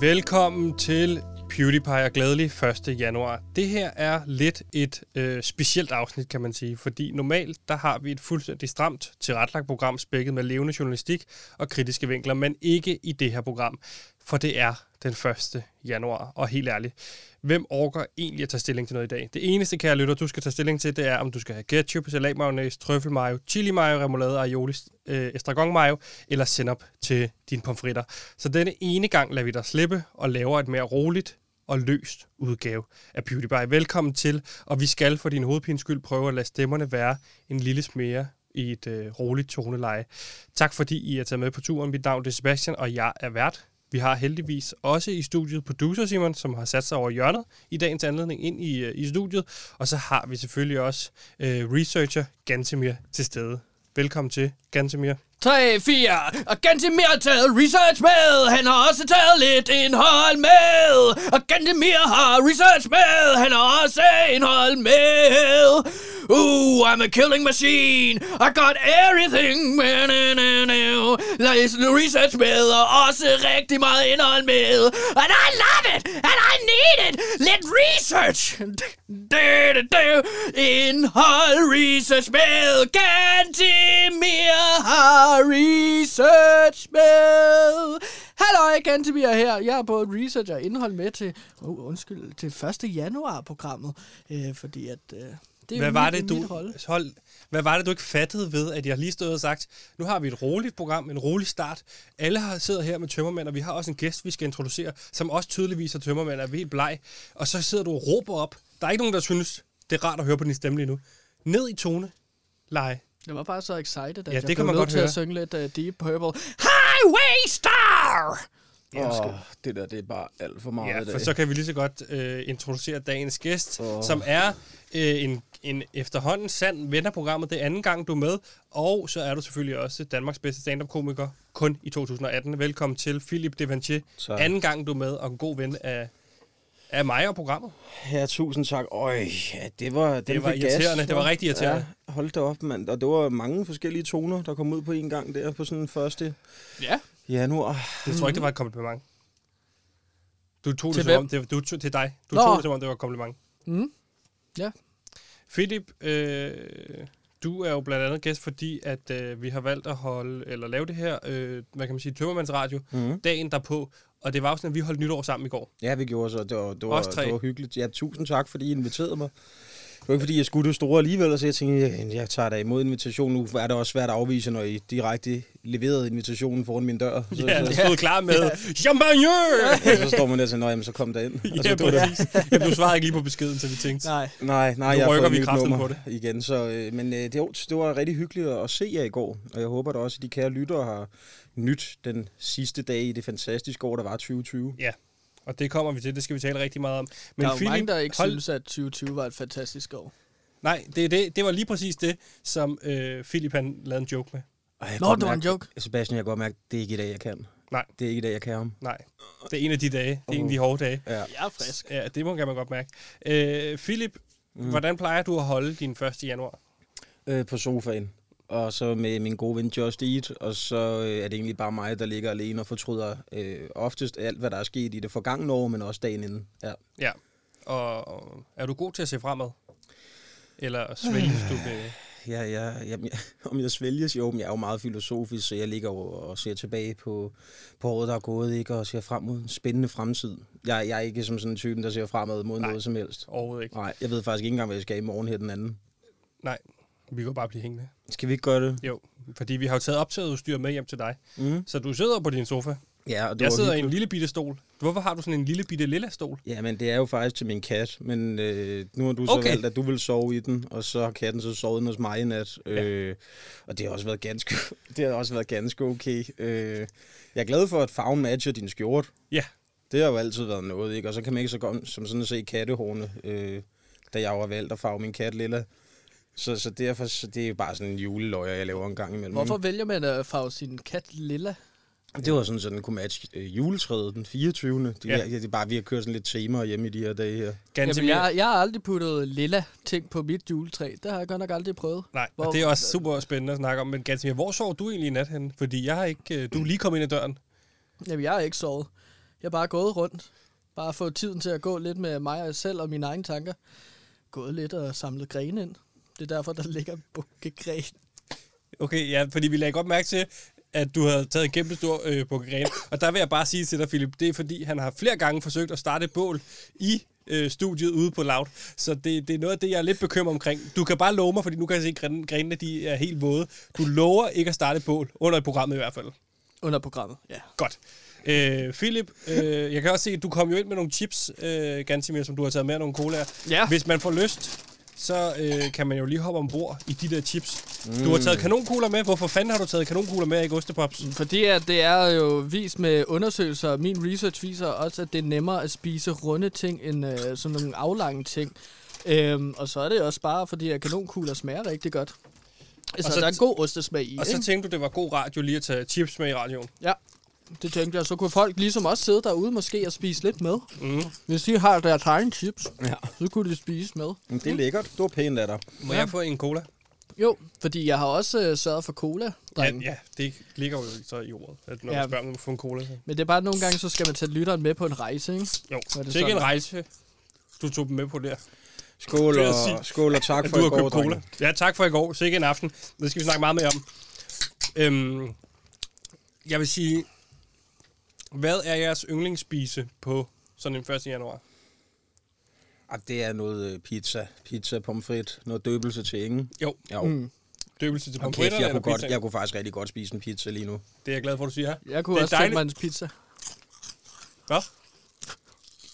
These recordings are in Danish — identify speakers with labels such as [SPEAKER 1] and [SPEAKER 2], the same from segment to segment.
[SPEAKER 1] Velkommen til PewDiePie og glædelig 1. januar. Det her er lidt et øh, specielt afsnit, kan man sige, fordi normalt der har vi et fuldstændig stramt tilretlagt program spækket med levende journalistik og kritiske vinkler, men ikke i det her program, for det er den 1. januar. Og helt ærligt, hvem orker egentlig at tage stilling til noget i dag? Det eneste, kære lytter, du skal tage stilling til, det er, om du skal have ketchup, salatmayonnaise, trøffelmayo, chili mayo, remoulade, aioli, øh, estragon mayo eller senap til dine pomfritter. Så denne ene gang lader vi dig slippe og laver et mere roligt og løst udgave af Beauty By. Velkommen til, og vi skal for din hovedpines skyld prøve at lade stemmerne være en lille smere i et øh, roligt toneleje. Tak fordi I er taget med på turen. Mit navn er Sebastian, og jeg er vært. Vi har heldigvis også i studiet producer Simon, som har sat sig over hjørnet i dagens anledning ind i, øh, i studiet. Og så har vi selvfølgelig også øh, researcher Gantemir til stede. Velkommen til, Gantemir.
[SPEAKER 2] 3, 4, og Gantemir har taget research med, han har også taget lidt indhold med, og Gantemir har research med, han har også indhold med. Ooh, I'm a killing machine, I got everything, man, man, man, man. research med, og også rigtig meget indhold med, and I love it, and I need it, lidt research. Du, du, du. Indhold research med, Gantemir har research med. Hallo, Gantemir her. Jeg har både research og indhold med til, oh, undskyld, til 1. januar-programmet, øh, fordi at... Øh, det er
[SPEAKER 1] Hvad
[SPEAKER 2] mit-
[SPEAKER 1] var det,
[SPEAKER 2] mit
[SPEAKER 1] du,
[SPEAKER 2] hold.
[SPEAKER 1] hold, hvad var det, du ikke fattede ved, at jeg lige stod og sagt, nu har vi et roligt program, en rolig start. Alle har sidder her med tømmermænd, og vi har også en gæst, vi skal introducere, som også tydeligvis er tømmermænd, og er helt bleg. Og så sidder du og råber op. Der er ikke nogen, der synes, det er rart at høre på din stemme lige nu. Ned i tone. Leje.
[SPEAKER 2] Jeg var bare så excited, at
[SPEAKER 1] Ja,
[SPEAKER 2] jeg
[SPEAKER 1] det kan
[SPEAKER 2] blev
[SPEAKER 1] man
[SPEAKER 2] nødt
[SPEAKER 1] godt
[SPEAKER 2] til
[SPEAKER 1] høre.
[SPEAKER 2] at synge lidt uh, Deep Purple. Highway Star!
[SPEAKER 3] Åh, det der, det er bare alt for meget i
[SPEAKER 1] Ja,
[SPEAKER 3] dag.
[SPEAKER 1] for så kan vi lige så godt øh, introducere dagens gæst, oh.
[SPEAKER 3] Åh.
[SPEAKER 1] som er øh, en, en efterhånden sand ven af programmet. Det er anden gang, du er med. Og så er du selvfølgelig også Danmarks bedste stand-up-komiker, kun i 2018. Velkommen til, Philip Devanché.
[SPEAKER 3] Tak.
[SPEAKER 1] Anden gang, du er med, og en god ven af, af mig og programmet.
[SPEAKER 3] Ja, tusind tak. Øj, ja, det var... Den
[SPEAKER 1] Det var
[SPEAKER 3] fik gas,
[SPEAKER 1] irriterende. Det var
[SPEAKER 3] hva'?
[SPEAKER 1] rigtig irriterende.
[SPEAKER 3] Ja, hold da op, mand. Og det var mange forskellige toner, der kom ud på en gang der på sådan den første
[SPEAKER 2] Ja.
[SPEAKER 3] januar.
[SPEAKER 1] Jeg tror ikke, det var et kompliment. Du tog
[SPEAKER 2] Til
[SPEAKER 1] det som
[SPEAKER 2] hvem?
[SPEAKER 1] om, det, du, tog- til dig. Du
[SPEAKER 2] Nå.
[SPEAKER 1] tog det som om, det var et kompliment.
[SPEAKER 2] Mm. Ja.
[SPEAKER 1] Philip, øh, du er jo blandt andet gæst, fordi at øh, vi har valgt at holde, eller lave det her, øh, hvad kan man sige, tømmermandsradio,
[SPEAKER 2] Mhm.
[SPEAKER 1] mm. dagen derpå. Og det var jo sådan, at vi holdt nytår sammen i går.
[SPEAKER 3] Ja, vi gjorde så. Det var, det var,
[SPEAKER 1] Os tre.
[SPEAKER 3] det var hyggeligt. Ja, tusind tak, fordi I inviterede mig. Det var ikke, fordi jeg skulle det store alligevel, så jeg tænkte, jeg, jeg tager da imod invitationen. Nu er det også svært at afvise, når I direkte leverede invitationen foran min dør. Så,
[SPEAKER 1] Ja,
[SPEAKER 3] så,
[SPEAKER 1] jeg stod klar med, champagne!
[SPEAKER 3] så, så står man der og siger, "Nå, jamen, så kom der ind.
[SPEAKER 2] Altså,
[SPEAKER 3] Og
[SPEAKER 1] Ja,
[SPEAKER 3] så var det-
[SPEAKER 1] præcis. Jamen, du svarede ikke lige på beskeden, så vi tænkte,
[SPEAKER 2] Nej.
[SPEAKER 3] Nej, nej,
[SPEAKER 1] Nu
[SPEAKER 3] jeg har
[SPEAKER 1] rykker
[SPEAKER 3] fået
[SPEAKER 1] vi
[SPEAKER 3] vi nyt
[SPEAKER 1] kraften
[SPEAKER 3] nummer
[SPEAKER 1] på
[SPEAKER 3] på det. igen. Så, øh, men øh, det, jo, det var rigtig hyggeligt at, at se jer i går, og jeg håber da også, at de kære lyttere har nyt den sidste dag i det fantastiske år, der var 2020.
[SPEAKER 1] ja. Og det kommer vi til, det skal vi tale rigtig meget om.
[SPEAKER 2] Men der er jo mange, der ikke
[SPEAKER 1] hold-
[SPEAKER 2] synes, at 2020 var et fantastisk år.
[SPEAKER 1] Nej, det, er det, det var lige præcis det, som øh, Philip han lavede en joke med.
[SPEAKER 3] Og jeg kan
[SPEAKER 2] Nå,
[SPEAKER 3] godt
[SPEAKER 2] det var en
[SPEAKER 3] mærke-
[SPEAKER 2] joke.
[SPEAKER 3] Sebastian, jeg kan godt mærke, at det er ikke i dag, jeg kan.
[SPEAKER 1] Nej.
[SPEAKER 3] Det er ikke i dag, jeg kan ham.
[SPEAKER 1] Nej, det er en af de dage. Det er en af de hårde dage.
[SPEAKER 3] Ja.
[SPEAKER 2] Jeg er frisk.
[SPEAKER 1] Ja, det må kan man godt mærke. Øh, Philip, mm. hvordan plejer du at holde din 1. januar?
[SPEAKER 3] Øh, på sofaen, og så med min gode ven Just Eat, og så øh, er det egentlig bare mig, der ligger alene og fortryder øh, oftest alt, hvad der er sket i det forgangne år, men også dagen inden. Ja.
[SPEAKER 1] Ja. Og, og er du god til at se fremad? Eller svælges du med...
[SPEAKER 3] Ja, ja, jamen, jeg, om jeg svælges? Jo, men jeg er jo meget filosofisk, så jeg ligger jo og ser tilbage på, på året, der er gået, ikke? og ser frem mod en spændende fremtid. Jeg, jeg er ikke som sådan en typen, der ser fremad mod Nej. noget som helst.
[SPEAKER 1] Overhovedet ikke.
[SPEAKER 3] Nej, jeg ved faktisk ikke engang, hvad jeg skal i morgen her den anden.
[SPEAKER 1] Nej, vi kan jo bare blive hængende.
[SPEAKER 3] Skal vi ikke gøre det?
[SPEAKER 1] Jo, fordi vi har jo taget optaget med hjem til dig.
[SPEAKER 3] Mm.
[SPEAKER 1] Så du sidder på din sofa.
[SPEAKER 3] Ja, og det
[SPEAKER 1] Jeg
[SPEAKER 3] var
[SPEAKER 1] sidder i
[SPEAKER 3] hyggeligt.
[SPEAKER 1] en lille bitte stol. Hvorfor har du sådan en lille bitte lilla stol?
[SPEAKER 3] Ja, men det er jo faktisk til min kat, men øh, nu har du så
[SPEAKER 1] Okay.
[SPEAKER 3] okay. valgt, at du vil sove i den, og så har katten så sovet inde hos mig i nat, øh, og det har også været ganske, det har også været ganske okay. Øh, jeg er glad for, at farven matcher din skjorte.
[SPEAKER 1] Ja,
[SPEAKER 3] Det har jo altid været noget, ikke? Og så kan man ikke så godt som sådan se kattehårene, øh, da jeg var valgt at farve min kat lilla. Så, så derfor, så det er jo bare sådan en juleløjer, jeg laver en gang imellem.
[SPEAKER 2] Hvorfor vælger man at farve sin kat lilla?
[SPEAKER 3] ikke? Det var sådan, så den kunne matche øh, juletræet den 24. Det,
[SPEAKER 1] Ja.
[SPEAKER 3] ja. det er bare, vi har kørt sådan lidt temaer hjemme i de her dage her.
[SPEAKER 1] ganske
[SPEAKER 2] Jamen, jeg, jeg har aldrig puttet lilla ting på mit juletræ. Det har jeg godt nok aldrig prøvet.
[SPEAKER 1] Nej, Hvor...
[SPEAKER 2] Hvor-
[SPEAKER 1] og det er også super spændende at snakke om. Men Gansimir, hvor sov du egentlig i nat henne? Fordi jeg har ikke... øh, Du er lige kommet ind ad døren.
[SPEAKER 2] Jamen, jeg har ikke sovet. Jeg har bare gået rundt. Bare fået tiden til at gå lidt med mig og selv og mine egne tanker. Gået lidt og samlet grene ind. Det er derfor, der ligger en bukke gren.
[SPEAKER 1] Okay, ja, fordi vi lagde godt mærke til, at du havde taget en kæmpe stor øh, bukke gren. Og der vil jeg bare sige til dig, Philip, det er fordi, han har flere gange forsøgt at starte et bål i øh, studiet ude på Loud. Så det, det er noget af det, jeg er lidt bekymret omkring. Du kan bare love mig, fordi nu kan jeg se, at gren- grenene de er helt våde. Du lover ikke at starte et bål, under i programmet i hvert fald.
[SPEAKER 2] Under programmet, ja.
[SPEAKER 1] Godt. Øh, Philip, øh, jeg kan også se, at du kom jo ind med nogle chips, øh, Gansimir, som du har taget med, og nogle colaer.
[SPEAKER 2] Ja.
[SPEAKER 1] Hvis man får lyst, så øh, kan man jo lige hoppe ombord i de der chips. Mm. Du har taget kanonkugler med. Hvorfor fanden har du taget kanonkugler med, og ikke ostepops?
[SPEAKER 2] Fordi at det er jo vist med undersøgelser, min research viser også, at det er nemmere at spise runde ting end øh, sådan nogle aflange ting. Øhm, og så er det også bare, fordi at kanonkugler smager rigtig godt. Så,
[SPEAKER 1] så
[SPEAKER 2] så der er en
[SPEAKER 1] t-
[SPEAKER 2] god ostesmag i,
[SPEAKER 1] Og så
[SPEAKER 2] ikke?
[SPEAKER 1] tænkte du, det var god radio lige at tage chips med i radioen.
[SPEAKER 2] Ja, det tænkte jeg. Så kunne folk ligesom også sidde derude måske og spise lidt med.
[SPEAKER 1] Mm.
[SPEAKER 2] Hvis de har deres egen chips,
[SPEAKER 3] Ja.
[SPEAKER 2] så kunne de spise med.
[SPEAKER 3] Men det er lækkert. Det var pænt af dig.
[SPEAKER 1] Må ja. jeg få en cola?
[SPEAKER 2] Jo, fordi jeg har også øh, sørget for cola,
[SPEAKER 1] Ja,
[SPEAKER 2] drenge.
[SPEAKER 1] ja, det ligger jo så i ordet, at når ja.
[SPEAKER 2] Ja.
[SPEAKER 1] man spørger, om man må få en cola. Så.
[SPEAKER 2] Men det er bare, at nogle gange, så skal man tage lytteren med på en rejse, ikke?
[SPEAKER 1] Jo,
[SPEAKER 2] Var det
[SPEAKER 1] det er ikke
[SPEAKER 2] sådan?
[SPEAKER 1] en rejse, du tog dem med på der.
[SPEAKER 3] Skål
[SPEAKER 1] Det er
[SPEAKER 3] og,
[SPEAKER 1] sygt.
[SPEAKER 3] skål og tak
[SPEAKER 1] at
[SPEAKER 3] for
[SPEAKER 1] du
[SPEAKER 3] i
[SPEAKER 1] har
[SPEAKER 3] går,
[SPEAKER 1] købt cola.
[SPEAKER 3] drenge.
[SPEAKER 1] Ja, tak for i går. Så ikke en aften. Det skal vi snakke meget mere om. Øhm, jeg vil sige, hvad er jeres yndlingsspise på sådan den 1. januar?
[SPEAKER 3] Ah, det er noget øh, pizza. Pizza, pomfrit, noget døbelse til ingen.
[SPEAKER 1] Jo,
[SPEAKER 3] Jo. Mm.
[SPEAKER 1] døbelse til
[SPEAKER 3] Og
[SPEAKER 1] pomfritter
[SPEAKER 3] kæft, jeg
[SPEAKER 1] eller
[SPEAKER 3] kunne, godt,
[SPEAKER 1] pizzaen?
[SPEAKER 3] jeg kunne faktisk rigtig godt spise en pizza lige nu.
[SPEAKER 1] Det er jeg glad for, at du siger her.
[SPEAKER 2] Jeg kunne
[SPEAKER 1] det er
[SPEAKER 2] også tænke mig en pizza.
[SPEAKER 1] Hvad?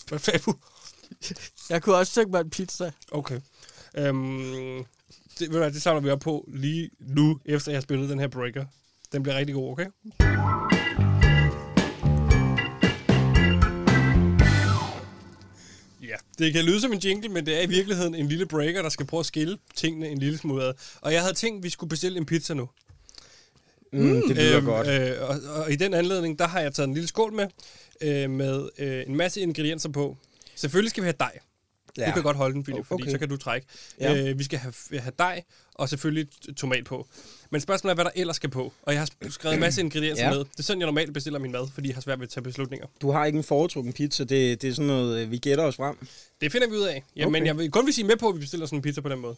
[SPEAKER 1] Hvad sagde du?
[SPEAKER 2] Jeg kunne også tænke mig en pizza.
[SPEAKER 1] Okay. Øhm, det, ved du hvad, det samler vi op på lige nu, efter jeg har spillet den her breaker. Den bliver rigtig god, okay? Ja, det kan lyde som en jingle, men det er i virkeligheden en lille breaker, der skal prøve at skille tingene en lille smule ad. Og jeg havde tænkt, at vi skulle bestille en pizza nu.
[SPEAKER 3] Mm, det lyder godt.
[SPEAKER 1] Øh, og, og i den anledning, der har jeg taget en lille skål med, øh, med øh, en masse ingredienser på. Selvfølgelig skal vi have dej. Ja. Du kan godt holde den, Philip, fordi
[SPEAKER 3] Okay.
[SPEAKER 1] så kan du trække.
[SPEAKER 3] Ja.
[SPEAKER 1] Ja. Øh, vi skal have, have dej, og selvfølgelig t- tomat på. Men spørgsmålet er, hvad der ellers skal på. Og jeg har sp- skrevet en masse ingredienser
[SPEAKER 3] Ja.
[SPEAKER 1] ja. med. Det er sådan, jeg normalt bestiller min mad, fordi jeg har svært ved at tage beslutninger.
[SPEAKER 3] Du har ikke en foretrukken pizza. Det, det er sådan noget, øh, vi gætter os frem.
[SPEAKER 1] Det finder vi ud af. Ja, okay. Men
[SPEAKER 3] Okay.
[SPEAKER 1] jeg vil kun vil sige med på, at vi bestiller sådan en pizza på den måde.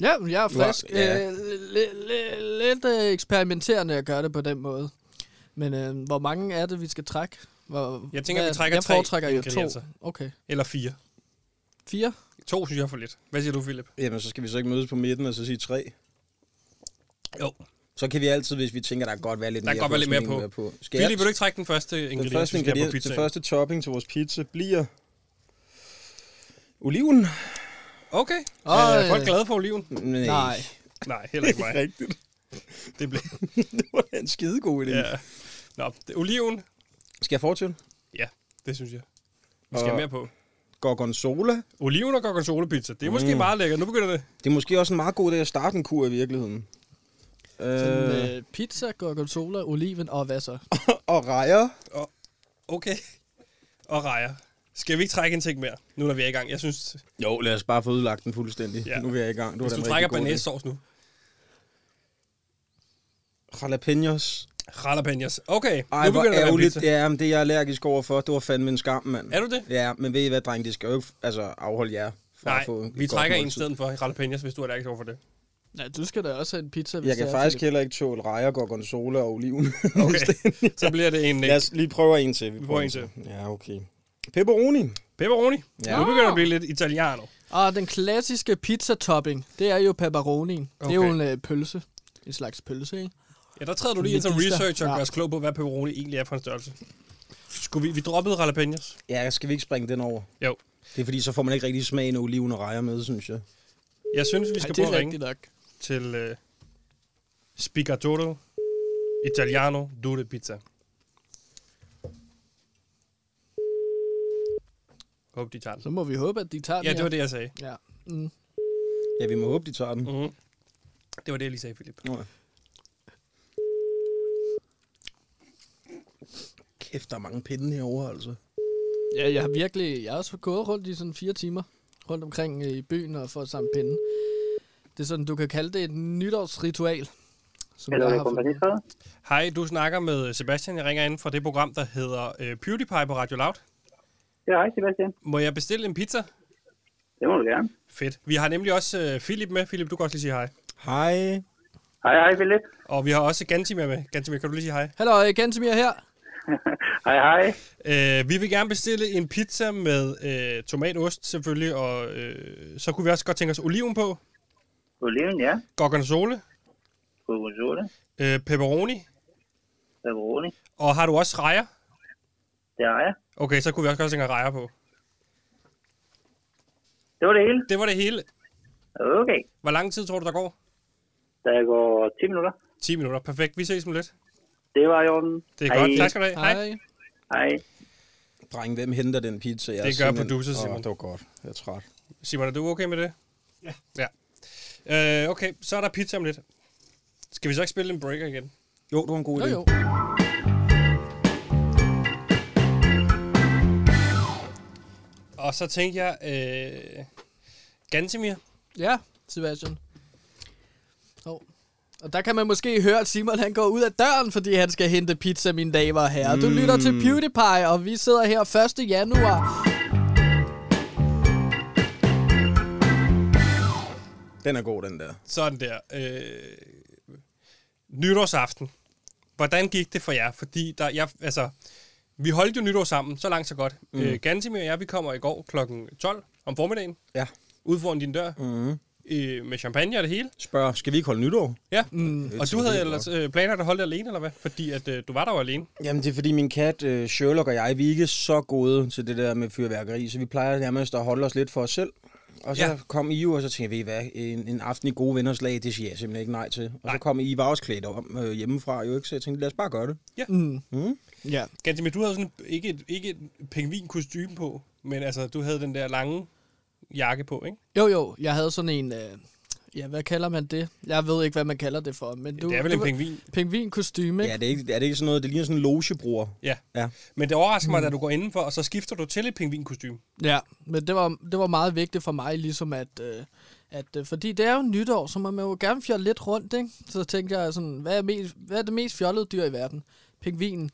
[SPEAKER 2] Ja, jeg er frisk.
[SPEAKER 3] ja.
[SPEAKER 2] Ja. Øh, li- li- lidt øh, eksperimenterende at gøre det på den måde. Men øh, hvor mange er det, vi skal trække? Hvor,
[SPEAKER 1] Jeg tænker, vi
[SPEAKER 2] hvad-
[SPEAKER 1] trækker
[SPEAKER 2] Jeg
[SPEAKER 1] tre
[SPEAKER 2] foretrækker jo to.
[SPEAKER 1] ingredienser.
[SPEAKER 2] Okay.
[SPEAKER 1] Eller fire.
[SPEAKER 2] Fire?
[SPEAKER 1] To synes jeg er for lidt. Hvad siger du, Philip?
[SPEAKER 3] Jamen, så skal vi så ikke mødes på midten og så sige tre.
[SPEAKER 1] Jo.
[SPEAKER 3] Så kan vi altid, hvis vi tænker, der kan godt være lidt
[SPEAKER 1] Der kan
[SPEAKER 3] mere
[SPEAKER 1] godt være lidt mere
[SPEAKER 3] skal
[SPEAKER 1] på.
[SPEAKER 3] være på. Skal jeg,
[SPEAKER 1] Philip, vil du ikke trække den første
[SPEAKER 3] den
[SPEAKER 1] ingrediens,
[SPEAKER 3] første,
[SPEAKER 1] vi skal have på
[SPEAKER 3] ingrediens, den
[SPEAKER 1] pizzaen?
[SPEAKER 3] første topping til vores pizza bliver oliven.
[SPEAKER 1] Okay.
[SPEAKER 2] Øj.
[SPEAKER 1] Øh, er folk glade for oliven?
[SPEAKER 3] Nej,
[SPEAKER 2] Nej.
[SPEAKER 1] Nej, heller ikke mig.
[SPEAKER 3] ikke rigtigt.
[SPEAKER 1] Det blev...
[SPEAKER 3] Det var da en skidegod idé.
[SPEAKER 1] Ja. Nå, det, oliven.
[SPEAKER 3] Skal jeg fortsætte?
[SPEAKER 1] Ja, det synes jeg. Vi skal have
[SPEAKER 3] Og-
[SPEAKER 1] mere på.
[SPEAKER 3] Gorgonzola.
[SPEAKER 1] Oliven og gorgonzola-pizza. Det er måske mm. meget lækkert. Nu begynder det.
[SPEAKER 3] Det er måske også en meget god idé at starte en kur i virkeligheden. Øh,
[SPEAKER 2] Sådan, øh, pizza, gorgonzola, oliven og hvad så?
[SPEAKER 3] og rejer.
[SPEAKER 1] Og, okay. Og rejer. Skal vi ikke trække en ting mere, nu når vi er i gang? Jeg synes,
[SPEAKER 3] Jo, lad os bare få udlagt den fuldstændig.
[SPEAKER 1] Ja.
[SPEAKER 3] Ja. Nu er jeg i gang. Det var
[SPEAKER 1] hvis
[SPEAKER 3] da en
[SPEAKER 1] du
[SPEAKER 3] rigtig
[SPEAKER 1] trækker
[SPEAKER 3] god idé.
[SPEAKER 1] banæssauce nu.
[SPEAKER 3] Jalapenos.
[SPEAKER 1] Jalapenos. Okay,
[SPEAKER 3] Ej,
[SPEAKER 1] nu
[SPEAKER 3] hvor
[SPEAKER 1] begynder det at være
[SPEAKER 3] ærgerligt
[SPEAKER 1] pizza.
[SPEAKER 3] det er, men det er jeg allergisk overfor. Det var fandme en skam, mand.
[SPEAKER 1] Er du det?
[SPEAKER 3] Ja, men ved I hvad, dreng, det skal jo ikke altså, afholde jer fra
[SPEAKER 1] Nej,
[SPEAKER 3] at få et
[SPEAKER 1] vi
[SPEAKER 3] godt
[SPEAKER 1] trækker en
[SPEAKER 3] måltid.
[SPEAKER 1] stedet for jalapenos, hvis du er allergisk over for det.
[SPEAKER 2] Ja, du skal da også have en pizza, hvis
[SPEAKER 3] Jeg kan
[SPEAKER 2] det er,
[SPEAKER 3] faktisk
[SPEAKER 2] Philip.
[SPEAKER 3] heller ikke tåle rejer, gorgonzola og oliven.
[SPEAKER 1] Okay, så bliver det en
[SPEAKER 3] Lad
[SPEAKER 1] øh,
[SPEAKER 3] os lige prøve en til.
[SPEAKER 1] Vi prøver en
[SPEAKER 3] Ja, okay. Pepperoni.
[SPEAKER 1] pepperoni.
[SPEAKER 3] Ja.
[SPEAKER 1] Nu begynder det at blive lidt italiano.
[SPEAKER 2] Og Ah, den klassiske pizza-topping, det er jo pepperoni. Okay. Det er jo
[SPEAKER 1] Okay.
[SPEAKER 2] en øh, pølse. En slags pølse, ikke?
[SPEAKER 1] Ja, der træder du lige ind som
[SPEAKER 2] Medister.
[SPEAKER 1] researcher og
[SPEAKER 2] Ja.
[SPEAKER 1] gør os klog på, hvad pepperoni egentlig er for en størrelse. Skulle vi, vi droppede jalapenos?
[SPEAKER 3] Ja, skal vi ikke springe den over?
[SPEAKER 1] Jo.
[SPEAKER 3] Det er fordi, så får man ikke rigtig smagen af oliven og rejer med, synes jeg.
[SPEAKER 1] Jeg synes, vi
[SPEAKER 2] Ej,
[SPEAKER 1] skal
[SPEAKER 2] det
[SPEAKER 1] prøve
[SPEAKER 2] er
[SPEAKER 1] at ringe
[SPEAKER 2] rigtigt nok.
[SPEAKER 1] til øh, Spigatoro Italiano Dure Pizza. Håber, de tager den.
[SPEAKER 2] Så må vi håbe, at de tager
[SPEAKER 1] Ja,
[SPEAKER 2] den
[SPEAKER 1] det var det, jeg sagde.
[SPEAKER 2] Ja. Mm.
[SPEAKER 3] Ja, vi må håbe, de tager den.
[SPEAKER 1] Mm-hmm. Det var det, jeg lige sagde, Philip.
[SPEAKER 3] Nå ja. Kæft, der er mange pinde herovre, altså.
[SPEAKER 2] Ja, jeg har virkelig... Jeg har også gået rundt i sådan fire timer rundt omkring øh, i byen og fået samt pinde. Det er sådan, du kan kalde det et nytårsritual. Som
[SPEAKER 4] Hallo,
[SPEAKER 2] jeg
[SPEAKER 4] det
[SPEAKER 2] har
[SPEAKER 4] er
[SPEAKER 2] fået.
[SPEAKER 4] kompagniskade.
[SPEAKER 1] Hej, du snakker med Sebastian. Jeg ringer ind fra det program, der hedder øh, PewDiePie på Radio Loud.
[SPEAKER 4] Ja, hej Sebastian.
[SPEAKER 1] Må jeg bestille en pizza?
[SPEAKER 4] Det må du gerne.
[SPEAKER 1] Fedt. Vi har nemlig også øh, Philip med. Philip, du kan også lige sige hej.
[SPEAKER 3] Hej.
[SPEAKER 4] Hej, hej Philip.
[SPEAKER 1] Og vi har også Gantimir med. Gantimir, kan du lige sige hej?
[SPEAKER 2] Hallo, øh, Gantemir her.
[SPEAKER 4] hej, hej.
[SPEAKER 1] Øh, vi vil gerne bestille en pizza med øh, tomatost selvfølgelig, og øh, så kunne vi også godt tænke os oliven på,
[SPEAKER 4] Oliven, ja.
[SPEAKER 1] gorgonzole,
[SPEAKER 4] Gorgonzola.
[SPEAKER 1] øh, pepperoni,
[SPEAKER 4] Pepperoni.
[SPEAKER 1] og har du også rejer?
[SPEAKER 4] Det har jeg.
[SPEAKER 1] Okay, så kunne vi også godt tænke os rejer på.
[SPEAKER 4] Det var det hele.
[SPEAKER 1] Det var det hele.
[SPEAKER 4] Okay.
[SPEAKER 1] Hvor lang tid tror du, der går?
[SPEAKER 4] Der går 10 minutter.
[SPEAKER 1] 10 minutter. Perfekt. Vi ses om lidt.
[SPEAKER 4] Det var i orden.
[SPEAKER 1] Det er
[SPEAKER 4] hej.
[SPEAKER 1] godt. Tak skal du have. Hej.
[SPEAKER 2] Hej.
[SPEAKER 4] Hej.
[SPEAKER 3] Dreng, hvem henter den pizza? Jeg er
[SPEAKER 1] Det gør
[SPEAKER 3] simpelthen-
[SPEAKER 1] producer
[SPEAKER 3] Åh,
[SPEAKER 1] Simon.
[SPEAKER 3] Det var godt. Jeg er træt.
[SPEAKER 1] Simon, er du okay med det? Ja. ja. Øh, okay, så er der pizza om lidt. Skal vi så ikke spille en breaker igen?
[SPEAKER 3] Jo, det var en god
[SPEAKER 2] Jo,
[SPEAKER 3] idé.
[SPEAKER 2] jo.
[SPEAKER 1] Og så tænkte jeg, øh, Gantemir,
[SPEAKER 2] Ja, Sebastian. Oh. Og der kan man måske høre, at Simon han går ud af døren, fordi han skal hente pizza, mine damer og herrer. Du lytter til PewDiePie, og vi sidder her 1. januar.
[SPEAKER 3] Den er god, den der.
[SPEAKER 1] sådan der, øh, nytårsaften. Hvordan gik det for jer? Fordi der, jeg, altså, vi holdt jo nytår sammen, så langt så godt. Mm. Øh, Gantemir og jeg, vi kommer i går kl. 12 om formiddagen,
[SPEAKER 3] Ja.
[SPEAKER 1] ud foran din dør,
[SPEAKER 3] Mm.
[SPEAKER 1] øh, med champagne og det hele.
[SPEAKER 3] Spørg, skal vi ikke holde nytår?
[SPEAKER 1] Ja, mm. og
[SPEAKER 3] Det
[SPEAKER 1] du
[SPEAKER 3] tror
[SPEAKER 1] havde
[SPEAKER 3] jeg
[SPEAKER 1] ellers øh, planer, der holdt alene, eller hvad? Fordi at, øh, du var der jo alene.
[SPEAKER 3] Jamen, det er fordi min kat, øh, Sherlock og jeg, vi er ikke så gode til det der med fyrværkeri, så vi plejer nærmest at holde os lidt for os selv. Og så
[SPEAKER 1] Ja.
[SPEAKER 3] ja. kom I jo, og så tænkte jeg, ved I hvad, en, en aften i gode venners lag, det siger jeg simpelthen ikke nej til. Og nej. så kom I, I var også klædt om øh, hjemmefra, jo ikke? Så jeg tænkte, lad os bare gøre det.
[SPEAKER 2] Mm.
[SPEAKER 3] Mm.
[SPEAKER 2] Ja.
[SPEAKER 1] Gantemir, du havde sådan et- ikke et, ikke et pingvinkostyme på, men altså, du havde den der lange jakke på, ikke?
[SPEAKER 2] Jo, jo, jeg havde sådan en... Øh, ja, hvad kalder man det? Jeg ved ikke, hvad man kalder det for, men du...
[SPEAKER 1] Du, det er vel
[SPEAKER 2] du,
[SPEAKER 1] en pingvin.
[SPEAKER 2] Pingvin-kostyme, ikke?
[SPEAKER 3] Ja, det er, ikke, er det ikke sådan noget, det ligner sådan en logebror?
[SPEAKER 1] Ja.
[SPEAKER 3] Ja.
[SPEAKER 1] Men det overrasker mig, da du går indenfor, og så skifter du til et pingvinkostyme.
[SPEAKER 2] Ja, men det var, det var meget vigtigt for mig, ligesom at, øh, at øh, fordi det er jo nytår, så man må jo gerne fjolle lidt rundt, ikke? Så tænkte jeg sådan, hvad er, mest, hvad er det mest fjollede dyr i verden? Pingvinen.